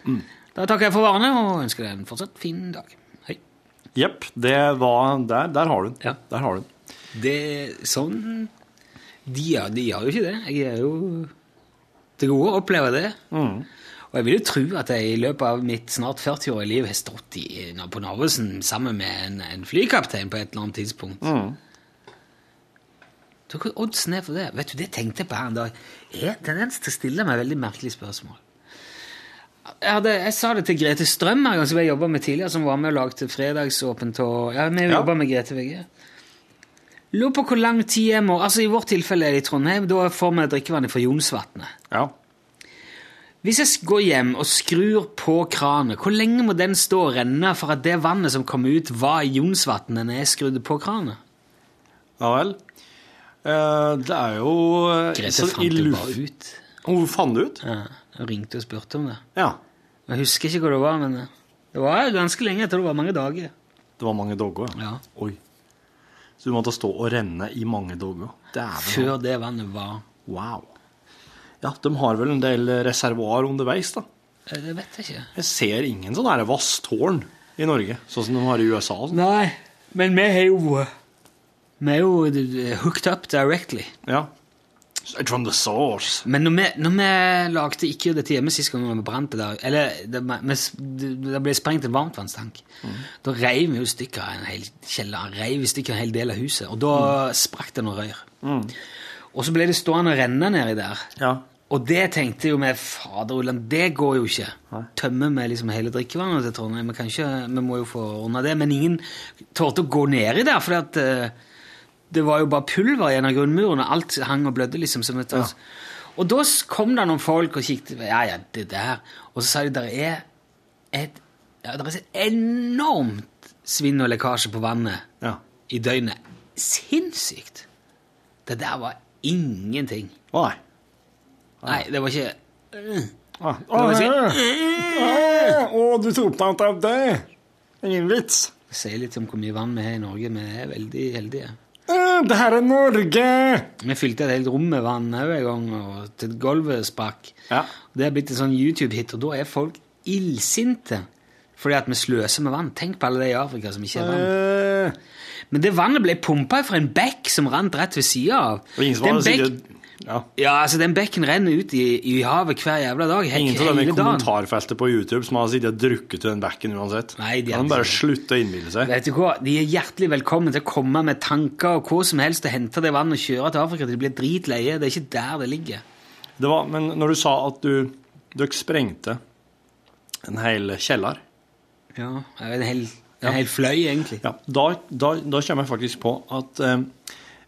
Speaker 2: Mm. Da takker jeg for varene og ønsker deg en fortsatt fin dag. Hei.
Speaker 7: Jepp, det var Der, der har du den.
Speaker 2: Ja.
Speaker 7: Der har du den.
Speaker 2: Det sånn De gjør de gjør jo ikke det. Jeg er jo til gode å oppleve det. Og jeg vil jo tro at jeg i løpet av mitt snart 40-årige liv har stått i, på Narvesen sammen med en, en flykaptein på et eller annet tidspunkt. Tror du hva oddsen er for det? Vet du, Det tenkte jeg på her en dag. Jeg har tendens til å stille meg veldig merkelige spørsmål. Jeg, hadde, jeg sa det til Grete Strøm, her, som jeg jobba med tidligere, som var med og lagde Fredagsåpent og Ja, vi jobba med Grete VG. Lurer på hvor lang tid jeg må Altså, i vårt tilfelle er det i Trondheim. Da får vi drikkevannet fra Jonsvatnet.
Speaker 7: Ja.
Speaker 2: Hvis jeg går hjem og skrur på kranen, hvor lenge må den stå og renne for at det vannet som kom ut, var i Jonsvatnet når jeg skrudde på kranen?
Speaker 7: Ja vel. Eh, Det er jo eh,
Speaker 2: Grete
Speaker 7: så i
Speaker 2: fant det
Speaker 7: luft-
Speaker 2: bare ut.
Speaker 7: Hun fant det ut?
Speaker 2: Ja, Hun ringte og spurte om det.
Speaker 7: Ja.
Speaker 2: Jeg husker ikke hvor det var, men eh, det var ganske lenge. Jeg tror det var mange dager.
Speaker 7: Det var mange dogger,
Speaker 2: Ja.
Speaker 7: Oi. Så du måtte stå og renne i mange dogger. Dæven.
Speaker 2: Før det vannet var
Speaker 7: Wow. Ja, de har vel en del reservoar underveis, da.
Speaker 2: Eh, Det vet jeg ikke.
Speaker 7: Jeg ser ingen sånne her vasstårn i Norge, sånn som de har i USA. og sånn.
Speaker 2: Nei, men vi har jo Vi er jo eh, hooked up directly.
Speaker 7: Ja. Straight from the source.
Speaker 2: Men når vi, når vi lagde ikke dette hjemme sist gang vi brant det der Eller det, vi, det- det ble sprengt en varmtvannstank. Da reiv vi jo stykker en hel kjeller, reiv i stykker en hel del av huset. Og da sprakk det noen rør. Og så ble det stående og renne nedi der.
Speaker 7: Ja.
Speaker 2: Og det tenkte jo vi Fader Ulland, det går jo ikke. Tømmer vi liksom hele drikkevannet til Trondheim? Vi, kan ikke, vi må jo få ordna det. Men ingen torde å gå nedi der, fordi at eh, det var jo bare pulver igjen av grunnmuren, og alt hang og blødde liksom som et Og da s- kom det noen folk og kikket Ja, ja, det der. Og så sa de der er et ja, der er et enormt svinn og lekkasje på vannet
Speaker 7: Ja.
Speaker 2: i døgnet. Sinnssykt! Det der var ingenting.
Speaker 7: Å nei.
Speaker 2: Nei, det var ikke
Speaker 7: Å,
Speaker 2: var
Speaker 7: nei.
Speaker 2: sånn-
Speaker 7: Å, du tok meg ut av det. Ingen vits.
Speaker 2: Det sier litt om hvor mye vann vi har i Norge. Vi er veldig heldige.
Speaker 7: Å, Det her er Norge!
Speaker 2: Vi fylte et helt rom med vann òg en gang, og til gulvet sprakk.
Speaker 7: Ja.
Speaker 2: Det er blitt en sånn YouTube-hit, og da er folk illsinte fordi at vi sløser med vann. Tenk på alle de i Afrika som ikke har vann.
Speaker 7: Eh,
Speaker 2: Men det vannet ble pumpa fra en bekk som rant rett ved sida av.
Speaker 7: og ingen som
Speaker 2: Den
Speaker 7: har
Speaker 2: bekk-
Speaker 7: sikkert ja.
Speaker 2: Ja, altså Den bekken renner ut i, i havet hver jævla dag. Hek,
Speaker 7: Ingen av dem i
Speaker 2: hele dagen.
Speaker 7: kommentarfeltet på YouTube som har sittet og drukket til den bekken uansett.
Speaker 2: Nei, de
Speaker 7: kan
Speaker 2: hadde
Speaker 7: de bare
Speaker 2: ikke.
Speaker 7: slutte å innbille seg.
Speaker 2: Vet du hva? De er hjertelig velkommen til å komme med tanker og hva som helst og hente det vannet og kjøre til Afrika. De blir dritleie. Det er ikke der det ligger.
Speaker 7: Det var, men når du sa at du, dere sprengte en hel kjeller,
Speaker 2: Ja, jeg vet, En hel, en hel fløy, egentlig.
Speaker 7: ja, da, da, da kommer jeg faktisk på at eh,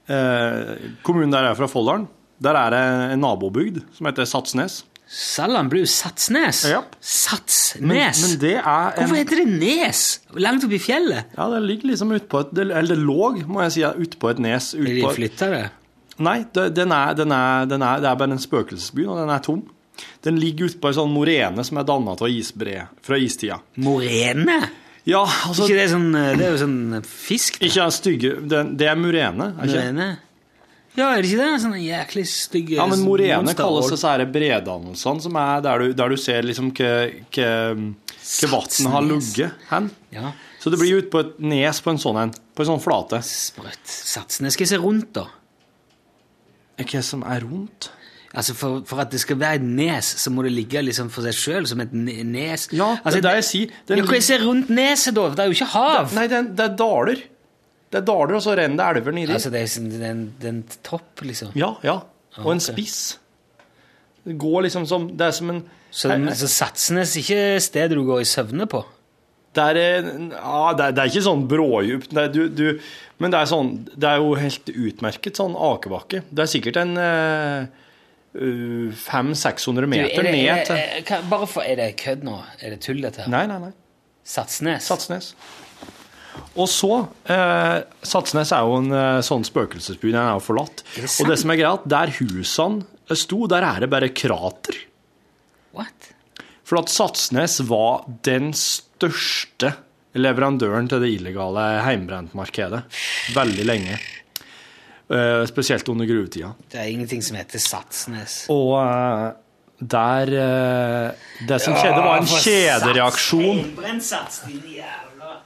Speaker 7: eh, kommunen der jeg er fra Folldalen, der er det en nabobygd som heter Satsnes.
Speaker 2: Sallan blir jo Satsnes.
Speaker 7: Ja.
Speaker 2: Satsnes!
Speaker 7: Men, men det er en,
Speaker 2: Hvorfor heter det Nes? Langt oppi fjellet?
Speaker 7: Ja, det ligger liksom utpå et det- Eller det lå, må jeg si, utpå et nes. ut
Speaker 2: Vil de
Speaker 7: på-
Speaker 2: flytte det?
Speaker 7: Nei, det- den er, den er, den er, det er bare en spøkelsesby, og den er tom. Den ligger ute på en sånn morene som er danna av isbre fra istida.
Speaker 2: Morene?
Speaker 7: Ja, altså
Speaker 2: Ikke
Speaker 7: Ikke,
Speaker 2: det, er sånn, eh, det er jo sånn fisk? da.
Speaker 7: den stygge den, Det er murene, er ikke det?
Speaker 2: Morene? Ja, er det ikke det? Sånne jæklig stygge
Speaker 7: Ja, men morene
Speaker 2: monster-
Speaker 7: kalles disse her bredannelsene, som er der du, der du ser liksom hva vannet har
Speaker 2: Satsnes.
Speaker 7: ligget hen.
Speaker 2: Ja,
Speaker 7: Så det blir ute på et nes på en sånn en. På en sånn flate.
Speaker 2: sprøtt. Satsnes. Skal jeg se rundt, da?
Speaker 7: Hva som er rundt?
Speaker 2: Altså for, for at det skal være et nes, så må det ligge liksom for seg sjøl som et ne- nes.
Speaker 7: Ja, det
Speaker 2: altså,
Speaker 7: er det jeg sier. Den
Speaker 2: Ja, hva jeg ser rundt neset, da? Det er jo ikke hav!
Speaker 7: Nei, den, det er daler. Det er daler, og så renner det elver nedi.
Speaker 2: altså, det er sånn- det er en, det er en topp, liksom.
Speaker 7: Ja, ja. Og en
Speaker 2: ok.
Speaker 7: spiss. Det går liksom som Det er som en
Speaker 2: Så, det- så Satsnes er ikke stedet du går i søvne på?
Speaker 7: Det er, en- ja, det er, det er ikke sånn brådjupt, det er, du, du, men det er, sånn, det er jo helt utmerket sånn akebakke. Det er sikkert en eh, eh, 500-600
Speaker 2: Du,
Speaker 7: meter
Speaker 2: er det,
Speaker 7: ned
Speaker 2: er det,
Speaker 7: til
Speaker 2: er, kan- bare for, er det kødd nå? Er det tull, dette her?
Speaker 7: Nei, nei, nei.
Speaker 2: Satsnes?
Speaker 7: Satsnes. Og så eh, Satsnes er jo en eh, sånn spøkelsesby, den er jo forlatt.
Speaker 2: det sant?
Speaker 7: og det som er greia, at der husene sto, der er det bare krater.
Speaker 2: What?
Speaker 7: For at Satsnes var den største leverandøren til det illegale heimbrentmarkedet veldig lenge. Eh, spesielt under gruvetida.
Speaker 2: Det er ingenting som heter Satsnes.
Speaker 7: Og eh, der eh, Det som skjedde, var en kjedereaksjon.
Speaker 2: Brent sats, din jævla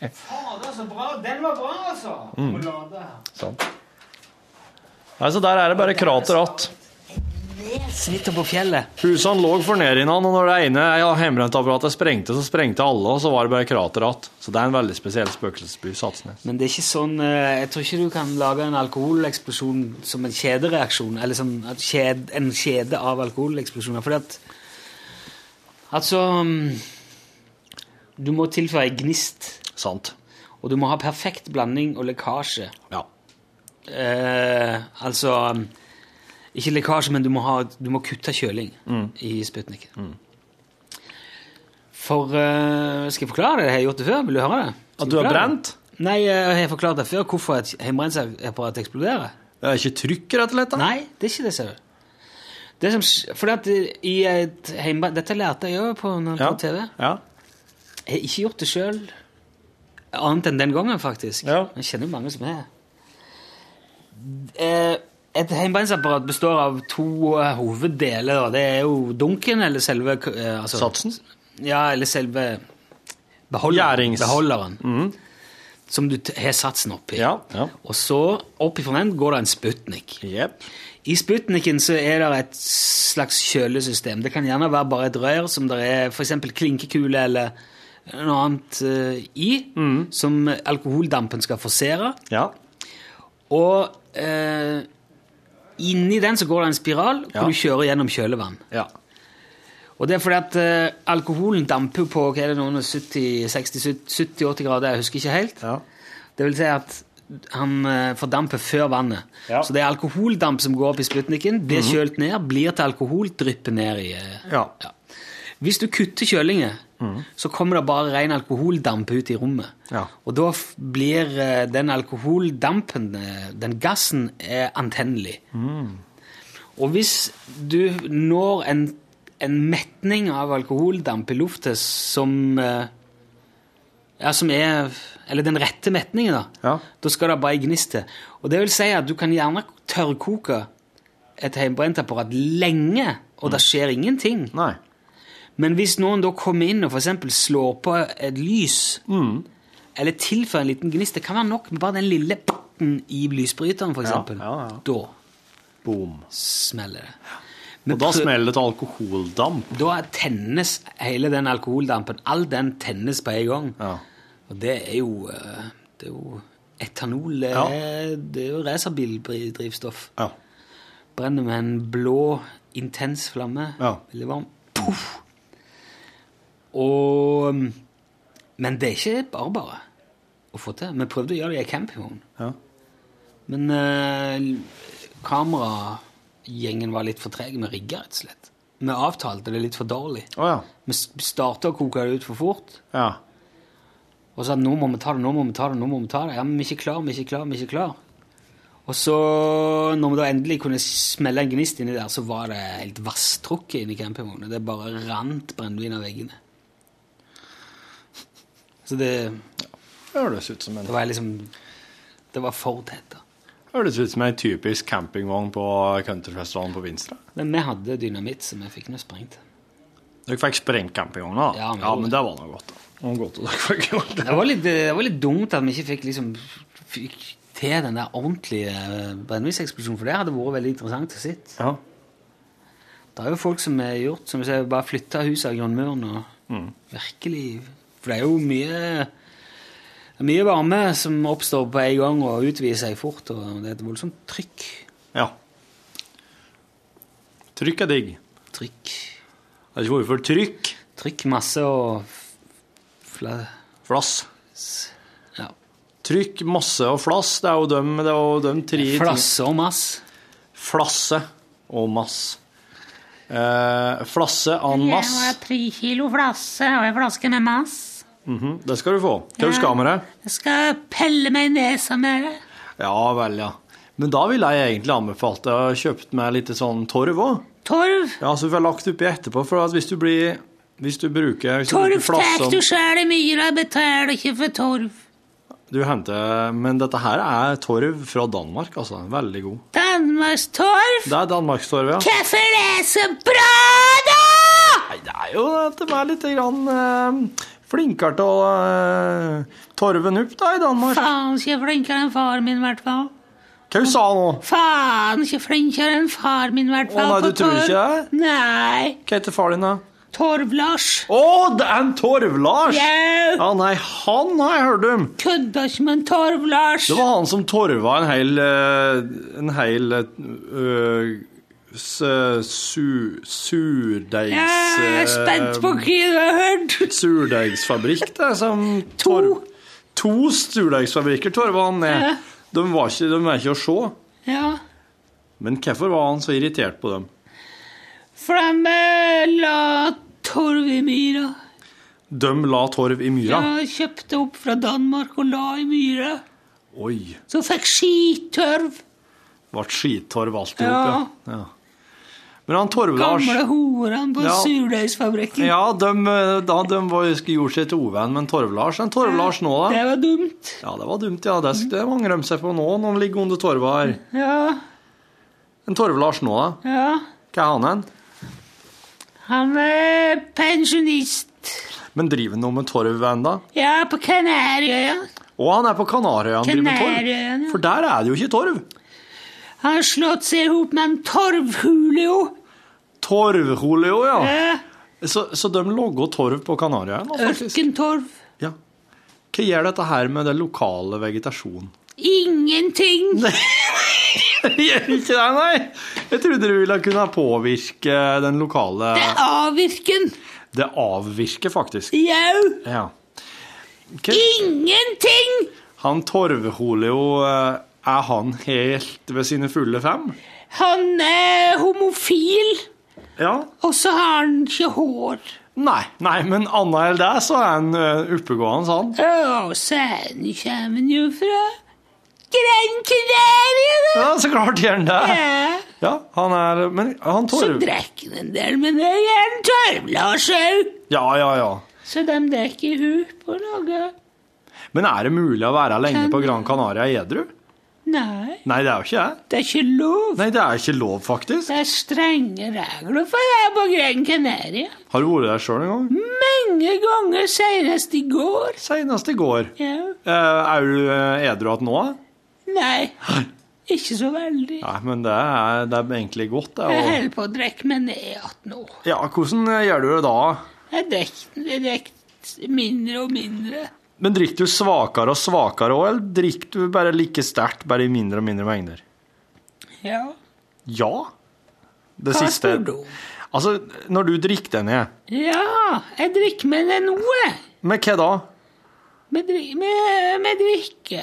Speaker 2: Fader, så bra. Den var bra, altså!
Speaker 7: Mm. Altså, Sånn. Nei, så der er det bare krater att.
Speaker 2: Snitt på fjellet.
Speaker 7: Husene lå for ned innan, og når det ene ja, hjemmebrentapparatet sprengte, så sprengte alle, og så var det bare krater igjen. Så det er en veldig spesiell spøkelsesby, Satsnes.
Speaker 2: Men det er ikke sånn eh, Jeg tror ikke du kan lage en alkoholeksplosjon som en kjedereaksjon. Eller som at kjed, en kjede av alkoholeksplosjoner. Fordi at Altså mm, Du må tilføye gnist.
Speaker 7: Sant.
Speaker 2: Og du må ha perfekt blanding og lekkasje.
Speaker 7: Ja.
Speaker 2: Eh, altså Ikke lekkasje, men du må, ha, du må kutte kjøling
Speaker 7: Mm.
Speaker 2: i Sputnik. For eh, Skal jeg forklare det? Jeg har gjort det før. Vil du høre det? Skal jeg
Speaker 7: At du er
Speaker 2: forklare det?
Speaker 7: brent?
Speaker 2: Nei, eh, jeg har forklart det før hvorfor et hjemmebrensapparat eksploderer.
Speaker 7: Det er ikke trykk, rett og slett? da?
Speaker 2: Nei, det er ikke det, ser du. Det som, sk- fordi at i et hjemmebren- Dette lærte jeg jo på, når jeg
Speaker 7: Ja.
Speaker 2: på TV.
Speaker 7: Ja.
Speaker 2: Jeg har ikke gjort det sjøl, annet enn den gangen, faktisk.
Speaker 7: Ja.
Speaker 2: Jeg kjenner jo mange som er Eh, Et hjemmebeinsapparat består av to eh, hoveddeler. da. Det er jo dunken, eller selve k- eh, altså,
Speaker 7: Satsen?
Speaker 2: Ja, eller selve beholderen.
Speaker 7: Gjærings. Mhm.
Speaker 2: beholderen Som du t- har satsen oppi.
Speaker 7: Ja. ja.
Speaker 2: Og så, oppi for den, går det en Sputnik.
Speaker 7: Jepp.
Speaker 2: I Sputniken så er det et slags kjølesystem. Det kan gjerne være bare et rør som det er f.eks. klinkekule eller noe annet eh, i, som alkoholdampen skal forsere.
Speaker 7: Ja.
Speaker 2: Og eh, inni den så går det en spiral
Speaker 7: Ja.
Speaker 2: hvor du kjører gjennom kjølevann.
Speaker 7: ja.
Speaker 2: Og det er fordi at eh, alkoholen damper jo på hva er det noen 70-80 grader, jeg husker ikke helt.
Speaker 7: Ja.
Speaker 2: Det vil si at han eh, fordamper før vannet.
Speaker 7: Ja.
Speaker 2: Så det er alkoholdamp som går opp i Sputniken, blir kjølt ned, blir til alkohol, drypper ned i eh,
Speaker 7: Ja.
Speaker 2: ja. Hvis du kutter kjølinger, så kommer det bare ren alkoholdamp ut i rommet.
Speaker 7: Mm. Ja.
Speaker 2: Og da f- blir eh, den alkoholdampen, eh, den gassen, eh, antennelig.
Speaker 7: Mm.
Speaker 2: Og hvis du når en, en metning av alkoholdamp i luftet som eh, ja, som er Eller den rette metningen, da.
Speaker 7: Ja.
Speaker 2: Da skal det bare ei gnist til. Og det vil si at du kan gjerne tørrkoke et hjemmebrentapparat lenge, og
Speaker 7: Mm.
Speaker 2: det skjer ingenting.
Speaker 7: Nei.
Speaker 2: Men hvis noen da kommer inn og for eksempel slår på et lys,
Speaker 7: Mm.
Speaker 2: eller tilføyer en liten gnist, det kan være nok med bare den lille patten i lysbryteren, for eksempel.
Speaker 7: ja, ja.
Speaker 2: Da
Speaker 7: Boom.
Speaker 2: smeller det.
Speaker 7: Og
Speaker 2: Men
Speaker 7: da
Speaker 2: prøv-
Speaker 7: smeller det til alkoholdamp.
Speaker 2: da tennes hele den alkoholdampen, all den tennes på en gang.
Speaker 7: Ja.
Speaker 2: Og det er jo, eh, det er jo etanol, det
Speaker 7: Ja.
Speaker 2: er- det er jo racerbildrivstoff.
Speaker 7: Ja.
Speaker 2: Brenner med en blå, intens flamme.
Speaker 7: Ja.
Speaker 2: Veldig varm. Puff! Og Men det er ikke bare bare å få til. Vi prøvde å gjøre det i en campingvogn.
Speaker 7: Ja.
Speaker 2: Men eh, kameragjengen var litt for trege med rigger, rett og slett. Vi avtalte det litt for dårlig.
Speaker 7: Å ja.
Speaker 2: Vi starta å koke det ut for fort.
Speaker 7: Ja.
Speaker 2: Og så at nå må vi ta det, nå må vi ta det, nå må vi ta det. Ja, men vi er ikke klar, vi er ikke klar, vi er ikke klar. Og så, når vi da endelig kunne smelle en gnist inni der, så var det helt vasstrukket inni campingvogna. Det bare rant brennevin av veggene. Så det,
Speaker 7: Det Høres ut som en
Speaker 2: det var liksom Det var for tett, da.
Speaker 7: Høres ut som ei typisk campingvogn på countryfestivalen på Vinstra.
Speaker 2: Men vi hadde dynamitt, så vi fikk noe sprengt.
Speaker 7: Dere fikk sprengt campingvogna? da?
Speaker 2: Ja, men-
Speaker 7: ja, men det var nå godt. da. Det var godt at dere fikk gjort det.
Speaker 2: Det var litt, det var litt dumt at vi ikke fikk, liksom, fikk til den der ordentlige eh, brennevinseksplosjonen, for det hadde vært veldig interessant å sitte.
Speaker 7: Ja.
Speaker 2: Det er jo folk som har gjort som du sier, bare flytta huset av grunnmuren og virkelig For det er jo mye det er mye varme som oppstår på en gang og utvider seg fort, og det er et voldsomt trykk.
Speaker 7: ja. Trykk er digg. Jeg
Speaker 2: Trykk.
Speaker 7: vet ikke hvorfor trykk.
Speaker 2: Trykk masse og f- fla...
Speaker 7: Flass.
Speaker 2: Ja.
Speaker 7: Trykk masse og flass. Det er jo dem, det er jo dem tre ting-
Speaker 2: Flasse og mass.
Speaker 7: Flasse og mass. Eh, flasse an mass.
Speaker 12: tre kilo flasse og ei flaske med mass.
Speaker 7: Mhm, Det skal du få. Hva du skal du med det?
Speaker 12: Jeg skal pelle meg i nesa med det.
Speaker 7: Ja vel, ja. Men da ville jeg egentlig anbefalt deg å kjøpe meg litt sånn torv òg.
Speaker 12: Torv.
Speaker 7: Ja, så vi får lagt oppi etterpå, for at hvis du blir Hvis du bruker hvis du bruker
Speaker 12: Torv
Speaker 7: flassen-
Speaker 12: tar du sjæl i myra, betaler ikke for torv.
Speaker 7: Du henter Men dette her er torv fra Danmark, altså. Veldig god.
Speaker 12: Danmarks torv.
Speaker 7: Det er danmarkstorv, ja.
Speaker 12: Hvorfor er det så bra, da?
Speaker 7: Nei, det er jo at de er litt grann, eh, flinkere til å eh, torven opp da, i Danmark.
Speaker 12: Faen, ikke jeg er flinkere enn faren min, i hvert fall.
Speaker 7: Hva sa han nå?
Speaker 12: Faen, ikke flinkere enn far min, i hvert
Speaker 7: Å
Speaker 12: fall.
Speaker 7: nei,
Speaker 12: på
Speaker 7: du tror
Speaker 12: torv.
Speaker 7: ikke
Speaker 12: Nei.
Speaker 7: Hva heter far din, da?
Speaker 12: Torv-Lars.
Speaker 7: Å, det er en Torv-Lars!
Speaker 12: Jau!
Speaker 7: Ja, nei, han har jeg hørt om.
Speaker 12: Kødda ikke med en Torv-Lars.
Speaker 7: Det var han som torva en hel eh, En hel uh, su, surdeigs...
Speaker 12: Ja, jeg er spent på
Speaker 7: eh,
Speaker 12: hva du har hørt.
Speaker 7: Surdeigsfabrikk, eh, det er som torv- To surdeigsfabrikker torva han ned.
Speaker 12: Ja.
Speaker 7: De, var ikke, de er ikke å se.
Speaker 12: Ja,
Speaker 7: Men hvorfor var han så irritert på dem?
Speaker 12: for de eh, la torv i myra.
Speaker 7: De la torv i myra.
Speaker 12: Ja, kjøpte opp fra Danmark og la i myra.
Speaker 7: Oi.
Speaker 12: Så fikk skitørv.
Speaker 7: Ble skitorv alt i
Speaker 12: Ja.
Speaker 7: hop, ja. ja. Men han Torv-Lars
Speaker 12: Gamle horene på
Speaker 7: Ja.
Speaker 12: surdeigsfabrikken.
Speaker 7: Ja, de, eh, da de var, gjorde seg til ovenn med en Torv-Lars. En Torv-Lars nå, da?
Speaker 12: Det var dumt.
Speaker 7: Ja, det var dumt, ja. Det skal det mange rømme seg på nå, når han ligger under torva her.
Speaker 12: Ja,
Speaker 7: En Torv-Lars nå, da?
Speaker 12: ja.
Speaker 7: Hva er han hen?
Speaker 12: Han er pensjonist.
Speaker 7: Men driver han noe med torv ennå?
Speaker 12: Ja, på Kanariøya.
Speaker 7: Og han er på Kanariøyene og driver med
Speaker 12: Kanariøyene,
Speaker 7: torv.
Speaker 12: ja.
Speaker 7: For der er det jo ikke torv.
Speaker 12: Han har slått seg i hop med en torvhulio.
Speaker 7: Torvholeo, ja.
Speaker 12: Ja,
Speaker 7: Så, så de lager torv på Kanariøyene, da, faktisk.
Speaker 12: Ørkentorv.
Speaker 7: Ja. Hva gjør dette her med den lokale vegetasjonen?
Speaker 12: Ingenting.
Speaker 7: gjør ikke det, nei! Jeg trodde du ville kunne påvirke den lokale
Speaker 12: Det er avvirken.
Speaker 7: Det avvirker, faktisk.
Speaker 12: Jau.
Speaker 7: Ja. Hva-
Speaker 12: Ingenting.
Speaker 7: Han Torvholeo, eh, er han helt ved sine fulle fem?
Speaker 12: Han er homofil,
Speaker 7: Ja.
Speaker 12: og så har han ikke hår.
Speaker 7: Nei, nei men annet enn det, så er han eh, oppegående, sa han.
Speaker 12: Og så er han kommer han jo fra Gran Canaria, da.
Speaker 7: Ja, så klart gjør han det.
Speaker 12: Ja.
Speaker 7: Ja, han er Men han
Speaker 12: Så
Speaker 7: Torv...
Speaker 12: drikker han en del, men det gjør han Torv-Lars òg.
Speaker 7: Ja, ja, ja.
Speaker 12: Så de drikker i hu på noe.
Speaker 7: Men er det mulig å være lenge på Gran Canaria edru?
Speaker 12: Nei,
Speaker 7: Nei, det er jo ikke jeg.
Speaker 12: det er ikke lov.
Speaker 7: Nei, det er ikke lov, faktisk.
Speaker 12: Det er strenge regler for det på Gran Canaria.
Speaker 7: Har du vært der sjøl en gang?
Speaker 12: Mange ganger, senest i går.
Speaker 7: Seinest i går.
Speaker 12: Ja.
Speaker 7: Eh, er du eh, edru igjen nå?
Speaker 12: Nei, ikke så veldig.
Speaker 7: Nei, men det er, det er egentlig godt, det.
Speaker 12: Jeg
Speaker 7: Og...
Speaker 12: holder på å drikke meg ned igjen nå.
Speaker 7: Ja, hvordan eh, gjør du det da?
Speaker 12: Jeg drikker jeg drikker mindre og mindre.
Speaker 7: Men drikker du svakere og svakere òg, eller drikker du bare like sterkt, bare i mindre og mindre mengder?
Speaker 12: Ja.
Speaker 7: Ja. Det
Speaker 12: Hva
Speaker 7: siste
Speaker 12: spør du om?
Speaker 7: Altså, når du drikker deg ned,
Speaker 12: Ja, jeg drikker meg ned nå, jeg.
Speaker 7: med hva da?
Speaker 12: Med, dri- med, med drikke.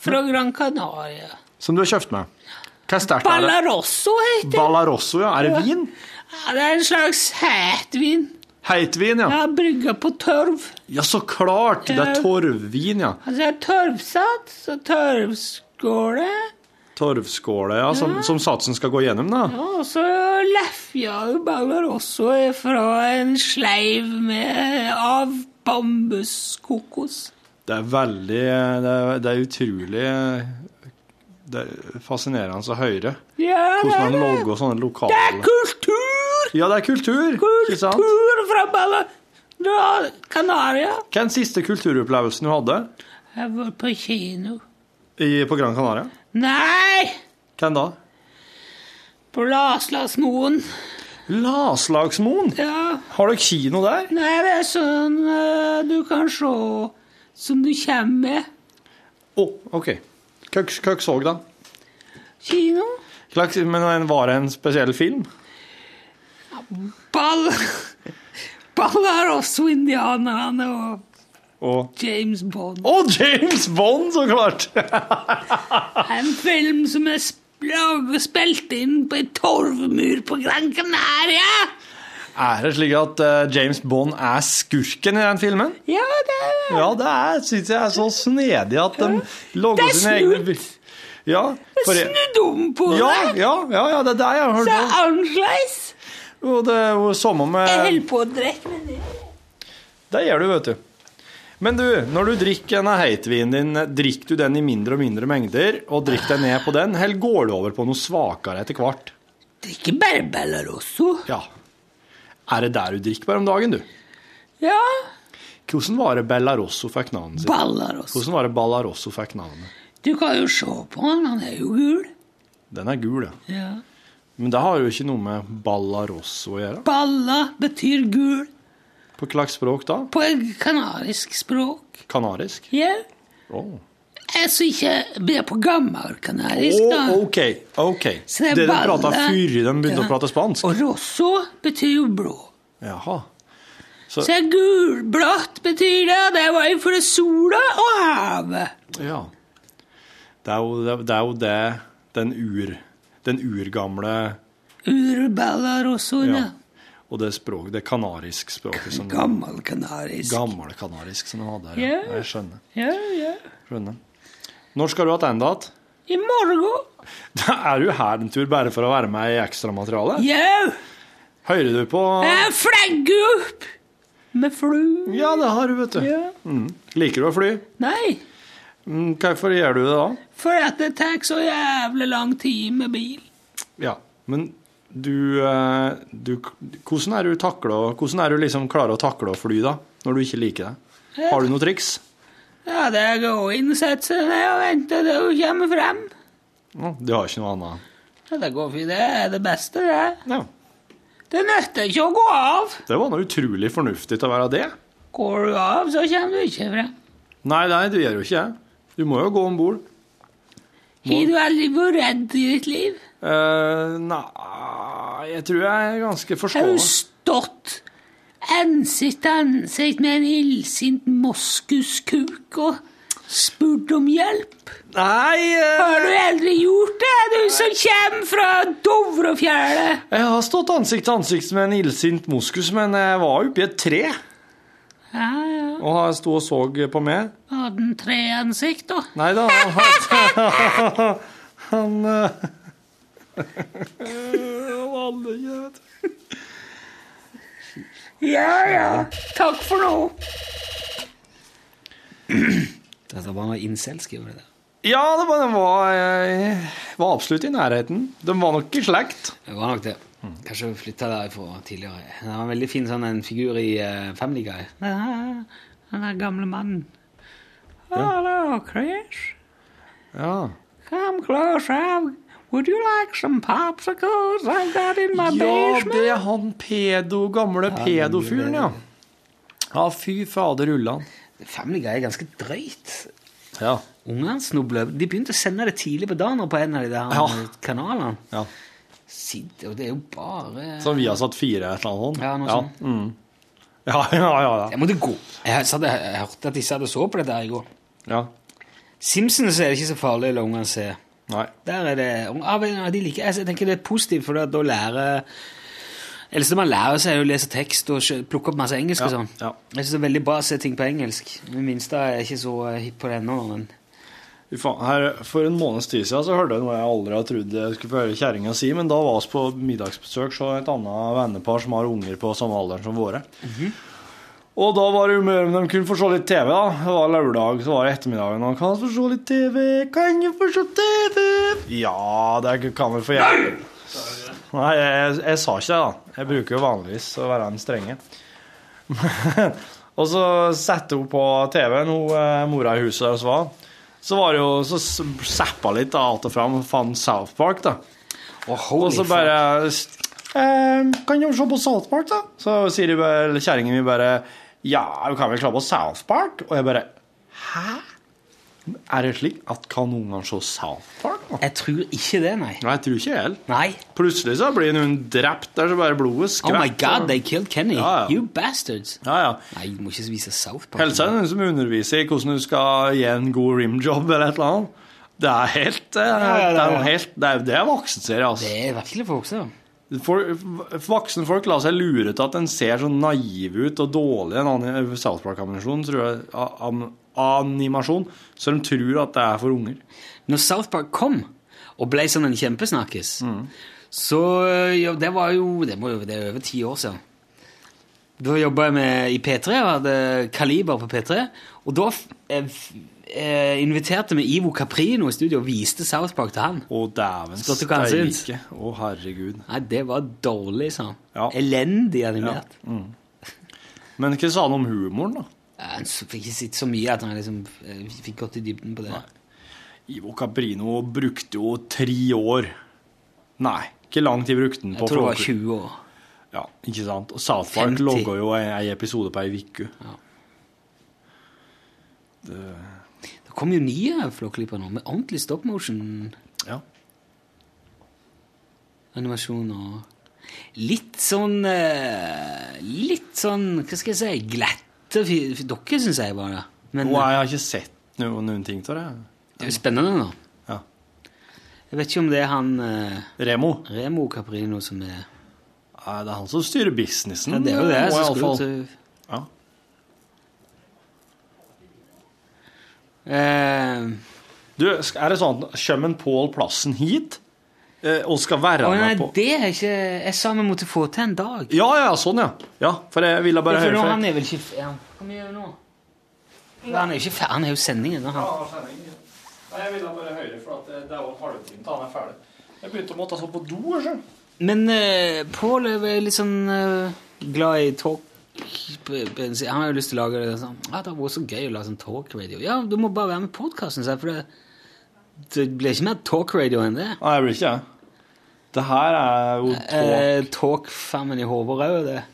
Speaker 12: Fra Gran Canaria.
Speaker 7: Som du har kjøpt med? Hva er sterkt? er det?
Speaker 12: Ballarosso heter det.
Speaker 7: Ballarosso, ja. Er det vin?
Speaker 12: Ja, det er en slags hetvin.
Speaker 7: Heitvin,
Speaker 12: Jeg
Speaker 7: ja.
Speaker 12: har brygga på tørv.
Speaker 7: Ja, så klart! Det er
Speaker 12: Ja.
Speaker 7: torvvin, ja.
Speaker 12: Altså, jeg har tørvsats og tørvskåle.
Speaker 7: Torvskåle, ja, som, som satsen skal gå gjennom, da.
Speaker 12: Ja, Og så lefja jo Ballarosso fra en sleiv med, av bambuskokos.
Speaker 7: Det er veldig Det er, det er utrolig det er fascinerende å høre
Speaker 12: Ja, det
Speaker 7: hvordan
Speaker 12: er
Speaker 7: han
Speaker 12: det.
Speaker 7: lager sånne lokale
Speaker 12: Det er kultur!
Speaker 7: Ja, det er kultur. Ikke sant?
Speaker 12: Kultur fra Balla... Fra Canaria.
Speaker 7: Hva er den siste kulturopplevelsen du hadde
Speaker 12: Jeg var på kino.
Speaker 7: i, på Gran Canaria?
Speaker 12: Nei!
Speaker 7: Hvem da?
Speaker 12: På Laslasmoen.
Speaker 7: Laslagsmoen!
Speaker 12: Ja.
Speaker 7: Har dere kino der?
Speaker 12: Nei, det er sånn eh, du kan se som du kommer med.
Speaker 7: Å, OK. Hva hva så dere da?
Speaker 12: Kino.
Speaker 7: Hva- Men den var det en spesiell film?
Speaker 12: Ball... Ballarosso-indianerne og
Speaker 7: Og
Speaker 12: James Bond.
Speaker 7: Å, James Bond, så klart!
Speaker 12: En film som er sp- laget- spilt inn på en torvmur på Gran Canaria.
Speaker 7: Er det slik at eh, James Bond er skurken i den filmen?
Speaker 12: Ja, det er det.
Speaker 7: Ja, det er, syns jeg er så snedig at de
Speaker 12: Det
Speaker 7: lager
Speaker 12: er
Speaker 7: sine egne
Speaker 12: snudd.
Speaker 7: bil- Ja, for
Speaker 12: Jeg
Speaker 7: jeg-
Speaker 12: snudd om på
Speaker 7: ja,
Speaker 12: det.
Speaker 7: ja, ja, ja, det er det jeg har hørt
Speaker 12: Det
Speaker 7: om.
Speaker 12: er annerledes.
Speaker 7: Og det er jo samme med
Speaker 12: Jeg holder på å drikke meg ned.
Speaker 7: Det gjør du, vet du. Men du, når du drikker denne heitvinen din, drikker du den i mindre og mindre mengder, og drikker deg ned på den, eller går du over på noe svakere etter hvert?
Speaker 12: Drikker bare Bellarosso.
Speaker 7: Ja. Er det der du drikker bare om dagen, du?
Speaker 12: Ja.
Speaker 7: Hvordan var det Bellarosso fikk navnet sitt?
Speaker 12: Ballarosso.
Speaker 7: Hvordan var det Ballarosso fikk navnet?
Speaker 12: Du kan jo se på han, han er jo gul.
Speaker 7: Den er gul, ja.
Speaker 12: Ja.
Speaker 7: Men det har jo ikke noe med Ballarosso å gjøre.
Speaker 12: Balla betyr gul
Speaker 7: På hva slags språk da?
Speaker 12: på et kanarisk språk.
Speaker 7: Kanarisk?
Speaker 12: Ja.
Speaker 7: Åh.
Speaker 12: Jeg som ikke blir på gammelkanarisk, da.
Speaker 7: Åh, OK. ok.
Speaker 12: Så
Speaker 7: Det
Speaker 12: er
Speaker 7: de
Speaker 12: balle-
Speaker 7: prata før de begynte å
Speaker 12: Ja.
Speaker 7: prate spansk?
Speaker 12: Og rosso betyr jo blå.
Speaker 7: Jaha.
Speaker 12: Så gulblått betyr det, det var jo for sola og havet.
Speaker 7: Ja. Det er jo det, det, er jo det den, ur, den urgamle
Speaker 12: Urbella rossoen,
Speaker 7: ja.
Speaker 12: ja.
Speaker 7: Og det språket, det kanarisk språket som
Speaker 12: Gammelkanarisk.
Speaker 7: Gammel kanarisk som de hadde her.
Speaker 12: Ja.
Speaker 7: Jeg skjønner.
Speaker 12: ja, ja.
Speaker 7: skjønner. Når skal du tilbake igjen?
Speaker 12: I morgen.
Speaker 7: Da er du her en tur bare for å være med i ekstramaterialet.
Speaker 12: Jau.
Speaker 7: Hører du på
Speaker 12: Jeg flagger opp med flu.
Speaker 7: Ja, det har du, vet du.
Speaker 12: Ja.
Speaker 7: Mm. Liker du å fly?
Speaker 12: Nei,
Speaker 7: Mm, Hvorfor gjør du det da?
Speaker 12: for at det tar så jævlig lang tid med bil.
Speaker 7: Ja, men du, eh, du Hvordan er du takla Hvordan er du liksom klarer å takle å fly, da? Når du ikke liker det? Har du noe triks?
Speaker 12: Ja, det er å innsette seg ned og vente til hun kommer frem.
Speaker 7: Ja, du har ikke noe annet?
Speaker 12: Ja, det går fint. Det er det beste, det.
Speaker 7: Ja.
Speaker 12: Det nytter ikke å gå av.
Speaker 7: Det var nå utrolig fornuftig til å være det.
Speaker 12: Går du av, så kommer du ikke frem.
Speaker 7: Nei, nei, du gjør jo ikke det. Du må jo gå om bord.
Speaker 12: Har du aldri vært redd i ditt liv?
Speaker 7: nei Eh, Jeg tror jeg er ganske
Speaker 12: Har du
Speaker 7: forstående.
Speaker 12: stått ansikt til ansikt med en illsint moskuskuk og spurt om hjelp?
Speaker 7: Nei, eh,
Speaker 12: Har du aldri gjort det, du som kommer fra Dovrefjellet?
Speaker 7: jeg har stått ansikt til ansikt med en illsint moskus, men jeg var oppi et tre,
Speaker 12: Ja, ja.
Speaker 7: og han sto og så på meg.
Speaker 12: Hadde han tre ansikt, da?
Speaker 7: Nei da, han hadde- Han eh, Han hadde ikke det, vet du.
Speaker 12: Ja, ja. Takk for nå.
Speaker 2: Dette var noe incel, skriver de der.
Speaker 7: Ja, det var, den var, eh, var absolutt i nærheten. De var nok i slekt.
Speaker 2: Det var nok det. Kanskje flytta derifra tidligere. Det var en veldig fin sånn en figur i eh, Family Guy.
Speaker 12: Den der gamle mannen. Hallo, Chris.
Speaker 7: Ja.
Speaker 12: Come close up. Would you like some popsicles I've got in my
Speaker 7: Ja,
Speaker 12: basement?
Speaker 7: det er han pedo, gamle pedofuren, ja. Ja, fy fader rullan.
Speaker 2: Family Guy er ganske drøyt.
Speaker 7: Ja.
Speaker 2: Ungene snubler. De begynte å sende det tidlig på dagen på en av de der
Speaker 7: Ja.
Speaker 2: kanalene.
Speaker 7: ja.
Speaker 2: Sitt, og det er jo bare
Speaker 7: Som vi har satt fire et eller annet sånt.
Speaker 2: Ja, noe sånt.
Speaker 7: Mm. Ja, ja, ja, ja.
Speaker 2: Jeg måtte gå. Jeg, satt, jeg, jeg hørte at de satt og så på dette her i går.
Speaker 7: ja.
Speaker 2: Simpsons er det ikke så farlig å la ungene se.
Speaker 7: Nei.
Speaker 2: Der er det av en av de liker. altså, Jeg tenker det er positivt, for da lærer Ellers man lærer seg å lese tekst og skjø- plukke opp masse engelsk og
Speaker 7: Ja,
Speaker 2: sånn.
Speaker 7: ja.
Speaker 2: Jeg synes det er veldig bra å se ting på engelsk. Min minste er ikke så eh, hipp på det ennå, men
Speaker 7: Fy faen, her, for en måneds tid siden så hørte jeg noe jeg aldri har trodd jeg skulle få høre kjerringa si, men da var vi på middagsbesøk hos et annet vennepar som har unger på samme alderen som våre. Og da var det jo mer om de kunne få se litt TV, da. Det var lørdag, så var det ettermiddagen. Og kan jeg få se litt TV? Kan jeg få se TV? Ja, det kan vel få hjelpe. Nei, jeg, jeg, jeg sa ikke det, da. Jeg bruker jo vanligvis å være den strenge. og så satte hun på TV-en, hun eh, mora i huset der vi var. Så var det jo, så s- zappa litt av alt og fram, fant South Park, da. Og så bare ehm, Kan du se på South Park, da? Så sier de bare- eller kjerringen min bare Ja, vi kan vel klare på South Park? Og jeg bare Hæ? Er det slik at kan ungene se South Park? da?»
Speaker 2: Jeg tror ikke det, nei.
Speaker 7: Nei, jeg tror ikke jeg heller.
Speaker 2: Nei.
Speaker 7: Plutselig så blir hun drept der, så bare blodet
Speaker 2: Oh
Speaker 7: skvetter.
Speaker 2: my god, they killed Kenny.
Speaker 7: Ja, ja.
Speaker 2: You bastards.
Speaker 7: Ja, ja.
Speaker 2: Nei, du må ikke vise South Park.
Speaker 7: Helse er noen som underviser i hvordan du skal gi en god rimjob eller et eller annet. Det er helt eh,
Speaker 2: ja,
Speaker 7: Det er
Speaker 2: ja.
Speaker 7: jo helt, det er, det er voksenserie, altså.
Speaker 2: Det er virkelig for voksne. da.
Speaker 7: For, voksne folk lar seg lure til at en ser så naiv ut og dårlig i en annen South Park-animasjon, tror jeg, a- am- animasjon, så de tror at det er for unger.
Speaker 2: Når South Park kom og ble sånn en kjempesnakkis,
Speaker 7: Mm.
Speaker 2: så eh, ja, Det var jo det, må jo, det er over ti år siden. Da jobba jeg med, i P3 og hadde Kaliber på P3. Og da f- eh, f- eh, inviterte vi Ivo Caprino i studio og viste South Park til han.
Speaker 7: Å, dæven
Speaker 2: Skal du ikke ha en syns?
Speaker 7: steike. Å, herregud.
Speaker 2: Nei, det var dårlig, sa han.
Speaker 7: Ja.
Speaker 2: Elendig animert.
Speaker 7: Men hva sa han om humoren, da?
Speaker 2: Jeg fikk ikke sett så mye at han liksom eh, fikk gått i dybden på det.
Speaker 7: Ivo Caprino brukte jo tre år Nei, ikke lang tid brukte han på
Speaker 2: Jeg tror det var
Speaker 7: Flåklypa.
Speaker 2: 20 år.
Speaker 7: Ja, ikke sant? Og South Park
Speaker 2: 50.
Speaker 7: logger jo ei, ei episode på ei uke.
Speaker 2: Det kom jo nye flåklyper nå, med ordentlig stop motion-animasjon
Speaker 7: Ja.
Speaker 2: og litt sånn eh, Litt sånn, hva skal jeg si, glatte fi- fi- dokker, syns jeg bare. Men
Speaker 7: Nå har jeg ikke sett noen, noen ting til det.
Speaker 2: det er jo spennende, da.
Speaker 7: Ja.
Speaker 2: Jeg vet ikke om det er han eh,
Speaker 7: Remo.
Speaker 2: Remo Caprino som er
Speaker 7: Nei, det er han som styrer businessen.
Speaker 2: Ja, det er jo det.
Speaker 7: Mm, må
Speaker 2: Så
Speaker 7: jeg
Speaker 2: skulle
Speaker 7: iallfall-
Speaker 2: du
Speaker 7: Ja.
Speaker 2: Eh,
Speaker 7: Du, sk- er det sånn at kommer Pål Plassen hit eh, og skal være
Speaker 2: Å nei,
Speaker 7: med på
Speaker 2: det er ikke Jeg sa vi måtte få til en dag.
Speaker 7: Ja, ja, sånn, ja. Ja, For jeg ville bare
Speaker 2: Ja, for
Speaker 7: høre
Speaker 2: nå,
Speaker 7: fra-
Speaker 2: han er vel ikke f- ja. Hvor mye er det nå? Ja, han er jo ikke ferdig. Han er jo sendingen. nå, Han.
Speaker 7: Nei, jeg ville bare høre, for at eh, det det er jo en halvtime til han er ferdig. Jeg begynte å måtte så på do. Selv.
Speaker 2: Men uh, Pål er vel litt sånn eh, glad i talk eh, Han har jo lyst til å lage det sånn Ja, det hadde vært så gøy å lage sånn talkradio. Ja, du må bare være med i podkasten, sa jeg, for det, det blir ikke mer talkradio enn det.
Speaker 7: Nei, jeg blir ikke det. Det her er jo talk,
Speaker 2: Eh, talk family Håvarau, det.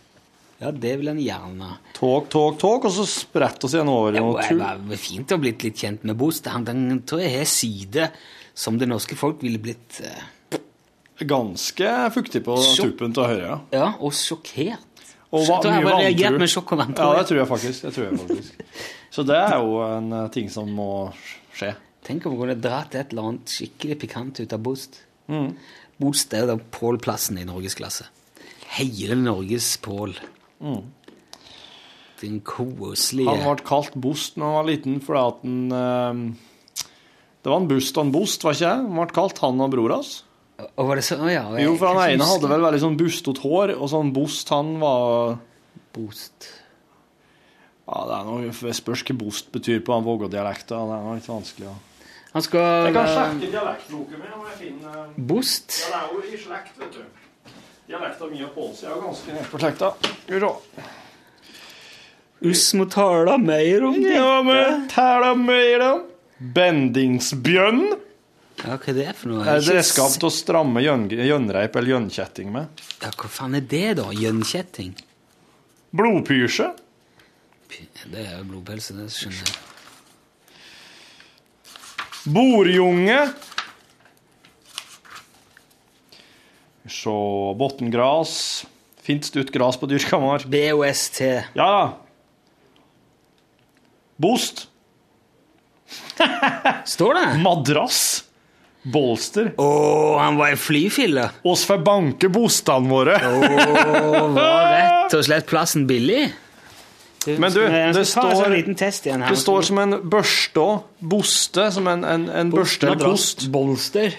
Speaker 2: Ja, det vil en gjerne.
Speaker 7: talk, talk, talk, og så spretter oss igjen over i
Speaker 2: Det
Speaker 7: noe
Speaker 2: var-
Speaker 7: tull.
Speaker 2: det var fint å ha blitt litt kjent med Bost. Han den tror jeg har sider som det norske folk ville blitt eh,
Speaker 7: Ganske fuktig på
Speaker 2: Sjokk.
Speaker 7: tuppen til å høre, ja.
Speaker 2: Ja, og sjokkert.
Speaker 7: Og hva,
Speaker 2: Så jeg
Speaker 7: mye
Speaker 2: bare reagert
Speaker 7: vantro.
Speaker 2: med sjokk og vantro.
Speaker 7: Ja, det tror jeg faktisk. Det tror jeg faktisk. Så det er jo en eh, ting som må skje.
Speaker 2: Tenk om vi kunne dratt et eller annet skikkelig pikant ut av Bost.
Speaker 7: Mm.
Speaker 2: Bost er jo da Pål-plassen i norgesklasse. Hele Norges Pål. Den koselige
Speaker 7: Mm. Han ble kalt Bost da han var liten fordi at han eh, Det var en Bust og en Bost, var ikke det? Han ble kalt han og bror hans.
Speaker 2: Og var det så? Å ja, og jeg-
Speaker 7: Jo, for han
Speaker 2: kanskje
Speaker 7: ene hadde
Speaker 2: husker
Speaker 7: vel veldig sånn bustete hår, og sånn Bost, han var
Speaker 2: Bost.
Speaker 7: Ja, det er noe, jeg spørs hva Bost betyr på den Vågå-dialekten. Det er noe litt vanskelig å
Speaker 2: Han skal
Speaker 7: dialektboka mi om jeg finner
Speaker 2: Bost.
Speaker 7: Den er jo i slekt, vet du. Dialekta mi og Påls er jo ganske nede på slekta. Skal vi se.
Speaker 2: Us må tale mer om det.
Speaker 7: Ja, men tæla mer da. Bendingsbjønn.
Speaker 2: Ja, hva er det for noe?
Speaker 7: Er
Speaker 2: Ikke
Speaker 7: det redskap til å stramme gjøn- gjønreip eller gjønkjetting med?
Speaker 2: s- Ja, hva faen er det, da? Gjønkjetting?
Speaker 7: Blodpysje.
Speaker 2: P- Det er jo blodpølse, det skjønner jeg.
Speaker 7: Borjunge. Så bottengras. Fint stutt gras på dyrka mark.
Speaker 2: BOST.
Speaker 7: Ja da. Bost.
Speaker 2: Står
Speaker 7: Mm.
Speaker 2: det?
Speaker 7: Madrass. Bolster.
Speaker 2: Å, han var i flyfille.
Speaker 7: Oss får banke bostene våre.
Speaker 2: Var rett og slett plassen billig.
Speaker 7: Men du,
Speaker 2: Jeg
Speaker 7: det
Speaker 2: skal ta en sånn
Speaker 7: står-
Speaker 2: liten test igjen her.
Speaker 7: Det står som en børste òg. Boste. Som en, en, en børste eller kost.
Speaker 2: Bolster.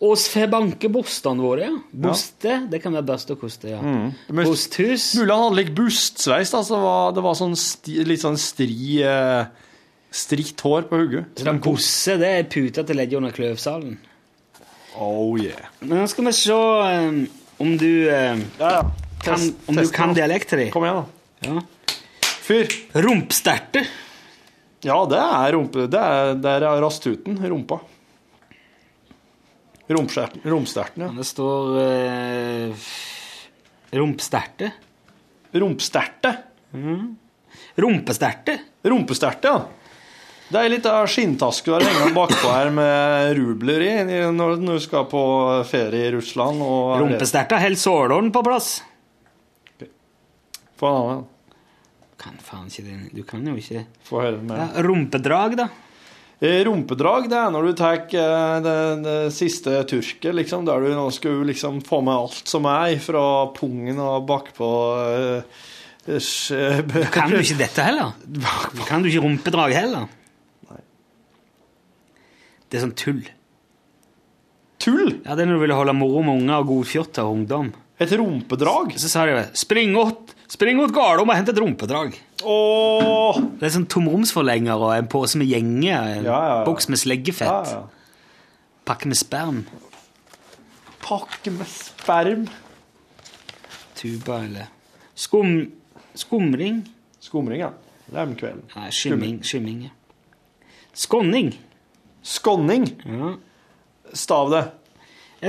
Speaker 2: Oss får banke bostene våre, ja. Boste, det kan være børste og koste, ja.
Speaker 7: Mm. Men-
Speaker 2: Bosthus.
Speaker 7: Mulig han hadde litt bustsveis. da, så Det var, det var sånn sti, litt sånn stri eh, Stritt hår på hodet.
Speaker 2: Så da Bosse, det er puta til leddet under kløvsalen.
Speaker 7: Oh yeah.
Speaker 2: Men nå skal vi se eh, om du eh,
Speaker 7: Ja, ja.
Speaker 2: kan,
Speaker 7: Test-
Speaker 2: om du
Speaker 7: test
Speaker 2: kan
Speaker 7: nå.
Speaker 2: dialekten din.
Speaker 7: Kom igjen, da.
Speaker 2: Ja.
Speaker 7: Fyr.
Speaker 2: Rumpsterte.
Speaker 7: Ja, det er rumpe... Det er, det er rastuten. Rumpa. Romsterten, romsterten, ja.
Speaker 2: Det står uh, Rumpsterte.
Speaker 7: Rumpesterte.
Speaker 2: Rumpesterte.
Speaker 7: Rumpesterte, ja. Det er litt av skinntaske du har hengt bakpå her med rubler i når når du skal på ferie i Russland. Og
Speaker 2: Rumpesterte holder sålåren på plass.
Speaker 7: Få en annen.
Speaker 2: Kan faen ikke det. Du kan jo ikke
Speaker 7: Få høre mer.
Speaker 2: ja, Rumpedrag, da.
Speaker 7: Eh, Rumpedrag det er når du tar eh, det, det siste turket, liksom, der du nå skal liksom få med alt som er, fra pungen og bakpå eh, eh,
Speaker 2: Kan du ikke dette heller? Kan du ikke rumpedrag heller? Det er sånn tull.
Speaker 7: Tull!
Speaker 2: Ja, Det er når du ville holde moro med unger og godfjort av ungdom.
Speaker 7: Et rumpedrag.
Speaker 2: Så sa de jo 'spring åt, spring åt Garlom og hent et rumpedrag'.
Speaker 7: Åh!
Speaker 2: Det er sånn tomromsforlenger og en pose med gjenge, en
Speaker 7: Ja, ja, ja.
Speaker 2: boks med
Speaker 7: Ja,
Speaker 2: sleggefett,
Speaker 7: ja.
Speaker 2: pakke med sperm,
Speaker 7: Pakke med sperm.
Speaker 2: tuba eller Skum, Skumring?
Speaker 7: Skumring, ja. Det er om kvelden.
Speaker 2: Nei, skimming. skimming ja. Skånning.
Speaker 7: Skånning. Stav det.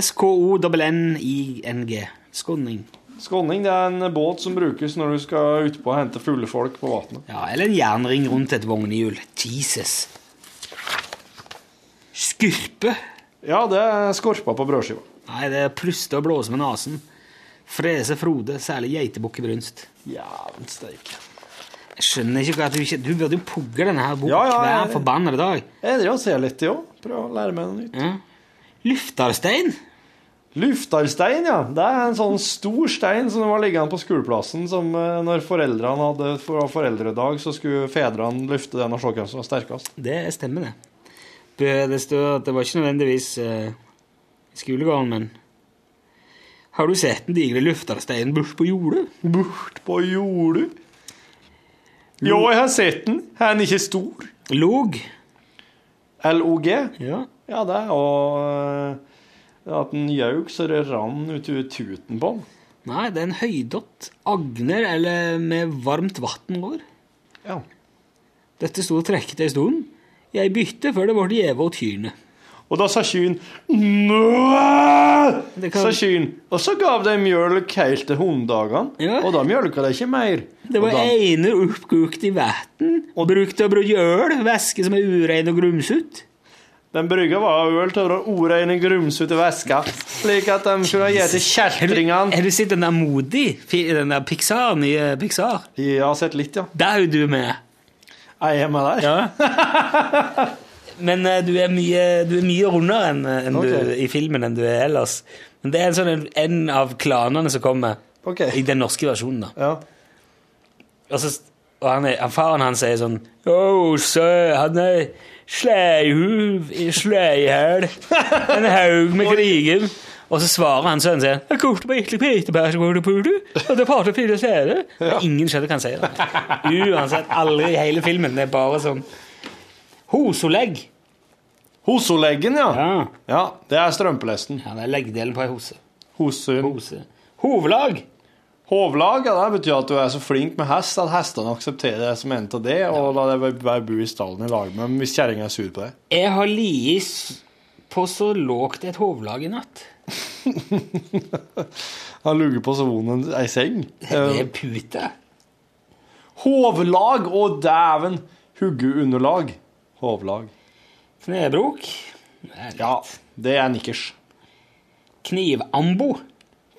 Speaker 2: S-K-O-N-N-I-N-G. Skåning.
Speaker 7: Skånning det er en båt som brukes når du skal utpå og hente fulle folk på vannet.
Speaker 2: Ja, eller en jernring rundt et vognhjul. Jesus. Skurpe.
Speaker 7: Ja, det er skorpa på brødskiva.
Speaker 2: Nei, det er pluste og blåse med nesen. Frese Frode, særlig geitebukk i brunst.
Speaker 7: Jævlen steike.
Speaker 2: Jeg skjønner ikke hva at du ikke Du burde jo pugge denne her boka
Speaker 7: Ja, ja, ja, ja.
Speaker 2: hver forbannede dag.
Speaker 7: Jeg driver og ser litt i òg. Prøver å lære meg noe nytt.
Speaker 2: Ja. Luftarstein?
Speaker 7: Luftarstein, ja. Det er en sånn stor stein som var liggende på skoleplassen. Som eh, når foreldrene hadde for foreldredag, så skulle fedrene løfte den og se hvem som var sterkest.
Speaker 2: Det stemmer, det. Det det står at det var ikke nødvendigvis eh, i skolegården, men Har du sett den digre luftarsteinen bort på jordet?
Speaker 7: Bort på jordet. Jo, jeg har sett den. Er den ikke stor?
Speaker 2: Log?
Speaker 7: LOG.
Speaker 2: Ja.
Speaker 7: Ja, det er og eh, at den gjauk så det rann ut i tuten på den.
Speaker 2: Nei, det er en høydott. Agner eller med varmt vann over.
Speaker 7: Ja.
Speaker 2: Dette sto og trekket ei stund. Jeg bytte før det ble gjeve åt kyrne.
Speaker 7: Og da sa kyn Nø!
Speaker 2: Det kan-
Speaker 7: Sa kyn. Og så gav de mjølk helt til hunddagene.
Speaker 2: Ja.
Speaker 7: Og da mjølka de ikke mer.
Speaker 2: Det var
Speaker 7: og da,
Speaker 2: einer oppkokt i væten, og brukt til å brygge øl, væske som er urein og grumsete.
Speaker 7: Den brygga var øl til å dra oreine grums ut i væska, slik at de kunne gi til kjeltringene.
Speaker 2: Har du sett den der Modi, fi- den der Pixar, nye Pixar?
Speaker 7: Jeg har sett litt, ja.
Speaker 2: Der er jo du med.
Speaker 7: Jeg er med der.
Speaker 2: Men eh, du er mye, du er mye rundere enn eh, enn du,
Speaker 7: Ok.
Speaker 2: i filmen enn du er ellers. Men det er en sånn en, en av klanene som kommer
Speaker 7: Ok.
Speaker 2: i den norske versjonen, da.
Speaker 7: Ja.
Speaker 2: Og, så, og han, er- han, faren han sier sånn Åh, sø, han er sleihuv i sleihæl. En haug med krigen. Og så svarer han sønnen sin Jeg kokte meg ytterligere pitebærskålepule, og det parter fire steder. Men Ingen skjønner hva han sier. da. Uansett, aldri i hele filmen. Det er bare sånn Hosolegg.
Speaker 7: Hosoleggen, ja.
Speaker 2: Ja.
Speaker 7: Ja, Det er strømpelesten.
Speaker 2: ja, det er leggdelen på ei hose.
Speaker 7: Hosun.
Speaker 2: hose. Hovlag.
Speaker 7: Hovlag ja, det betyr at du er så flink med hest at hestene aksepterer deg som en av det, og la deg være- være bo i stallen i lag med dem hvis kjerringa er sur på deg.
Speaker 2: Jeg har liet på så lågt et hovlag i natt.
Speaker 7: Han lugger på så vond ei seng.
Speaker 2: Det
Speaker 7: Eh,
Speaker 2: er pute.
Speaker 7: Hovlag og dæven huggeunderlag. Hovlag.
Speaker 2: Knebrok.
Speaker 7: Ja, det er nikkers.
Speaker 2: Knivambo.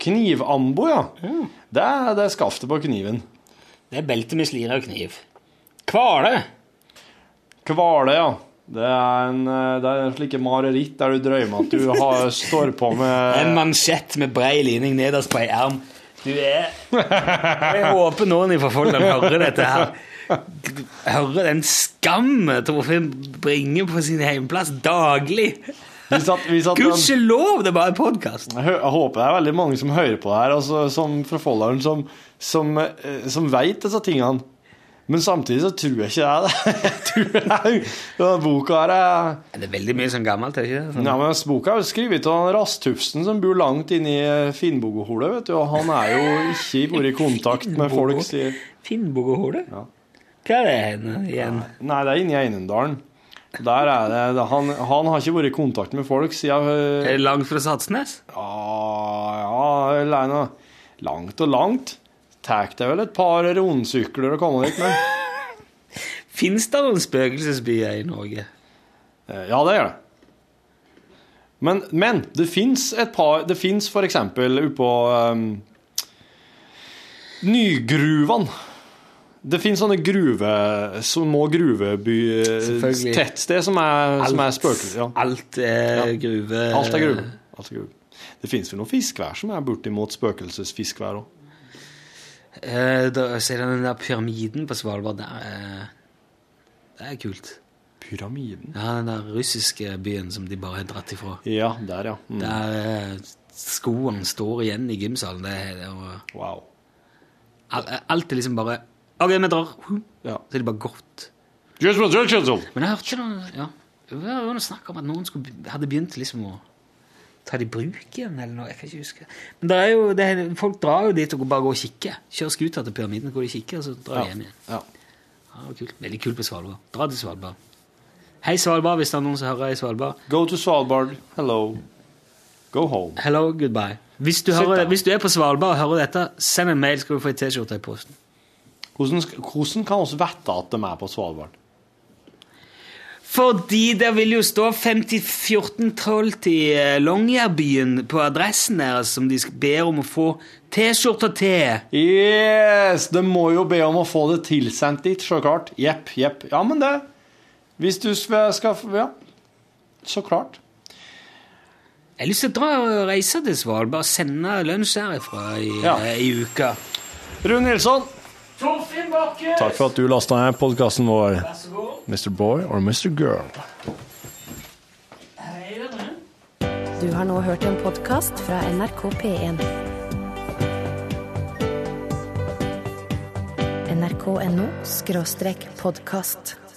Speaker 7: Knivambo, ja. Det er, det er skaftet på kniven.
Speaker 2: Det er belte med slire og kniv. Kvale.
Speaker 7: Kvale, ja. Det er, en, eh, det er slike mareritt der du drømmer at du har, står på
Speaker 2: En
Speaker 7: med
Speaker 2: mansjett med brei lining nederst på ei erm. Du er Jeg håper noen fra Folldal hører dette her. Hører den skammen Torfinn bringer på sin hjemplass daglig.
Speaker 7: Hvis at, hvis at han,
Speaker 2: Gudskjelov, det er bare en podkast.
Speaker 7: jeg hø- jeg håper det er veldig mange som hører på det her, altså, som fra Folldalen, som, som, eh, som veit disse tingene. Men samtidig så tror jeg ikke det er det. Jeg tror det er- Denne boka her er
Speaker 2: Det er veldig mye sånn gammelt, er det ikke det?
Speaker 7: Ja, men altså, Boka er jo skrevet av han Rasthufsen, som bor langt inne i eh, Finnbogoholet. vet du, og Han er jo ikke vært i kontakt med folk siden
Speaker 2: Finnbogohole?
Speaker 7: Ja.
Speaker 2: Hva er det henne igjen?
Speaker 7: Nei, det er inne i Einendalen. Der er det, det- han, han har ikke vært i kontakt med folk siden
Speaker 2: Er
Speaker 7: øh,
Speaker 2: det langt fra Satsnes?
Speaker 7: Ja, ja eller noe. Langt og langt. Tar deg vel et par rundsykler å komme dit med.
Speaker 2: Fins det noen spøkelsesbyer i Norge?
Speaker 7: Eh, Ja, det gjør det. Men, men det fins et par Det fins for eksempel oppå um, Nygruvene. Det fins sånne gruve, små
Speaker 2: Selvfølgelig.
Speaker 7: gruveby-tettsted som er, som er spøkelser. Ja.
Speaker 2: alt er
Speaker 7: Ja.
Speaker 2: gruve.
Speaker 7: Alt er gruve. Alt er gruve. Det fins vel noen fiskevær som er bortimot spøkelsesfiskevær òg.
Speaker 2: Eh, da ser jeg den der pyramiden på Svalbard. Der, eh, det er kult.
Speaker 7: Pyramiden.
Speaker 2: Ja, den der russiske byen som de bare har dratt ifra.
Speaker 7: Ja, der, ja. Mm.
Speaker 2: Der eh, skoene står igjen i gymsalen. Det, er- det, er-
Speaker 7: Wow.
Speaker 2: al- alt er liksom bare OK, vi drar.
Speaker 7: Ja.
Speaker 2: Så er det bare gått. Men jeg hørte ikke noe ja. Det var jo noe snakk om at noen skulle, be- hadde begynt liksom å ta det i bruk igjen, eller noe. Jeg kan ikke huske. Men det er jo, det er, folk drar jo dit og bare går og kikker. Kjører skuter til pyramiden, går de og kikker, og så drar de hjem igjen.
Speaker 7: Ja.
Speaker 2: Ja, det var kult. Veldig kult på Svalbard. Dra til Svalbard. Hei, Svalbard, hvis det er noen som hører i Svalbard.
Speaker 7: Go to Svalbard. Hello. Go home.
Speaker 2: Hello, goodbye. Hvis du,
Speaker 7: Sitt
Speaker 2: hører,
Speaker 7: da.
Speaker 2: hvis du er på Svalbard og hører dette, send en mail, skal du få en T-skjorte i posten.
Speaker 7: Hvordan, sk- hvordan kan vi vite at de er på Svalbard?
Speaker 2: Fordi det vil jo stå 501412 til eh, Longyearbyen på adressen deres, som de sk- ber om å få T-skjorter til.
Speaker 7: Yes! De må jo be om å få det tilsendt dit, så klart. Jepp, jepp. Ja, men det Hvis du skal skal- Ja, så klart.
Speaker 2: Jeg har lyst til å dra og reise til Svalbard og sende lunsj herifra i,
Speaker 7: Ja.
Speaker 2: eh, i uka.
Speaker 7: Rune Nilsson,
Speaker 2: Torfinn Bakke!
Speaker 7: takk for at du lasta ned podkasten vår.
Speaker 2: Vær så god.
Speaker 7: Mr. Boy or Mr. Girl?
Speaker 2: Hei, Rune.
Speaker 1: Du har nå hørt en podkast fra NRK P1. NRK.no skråstrek podkast.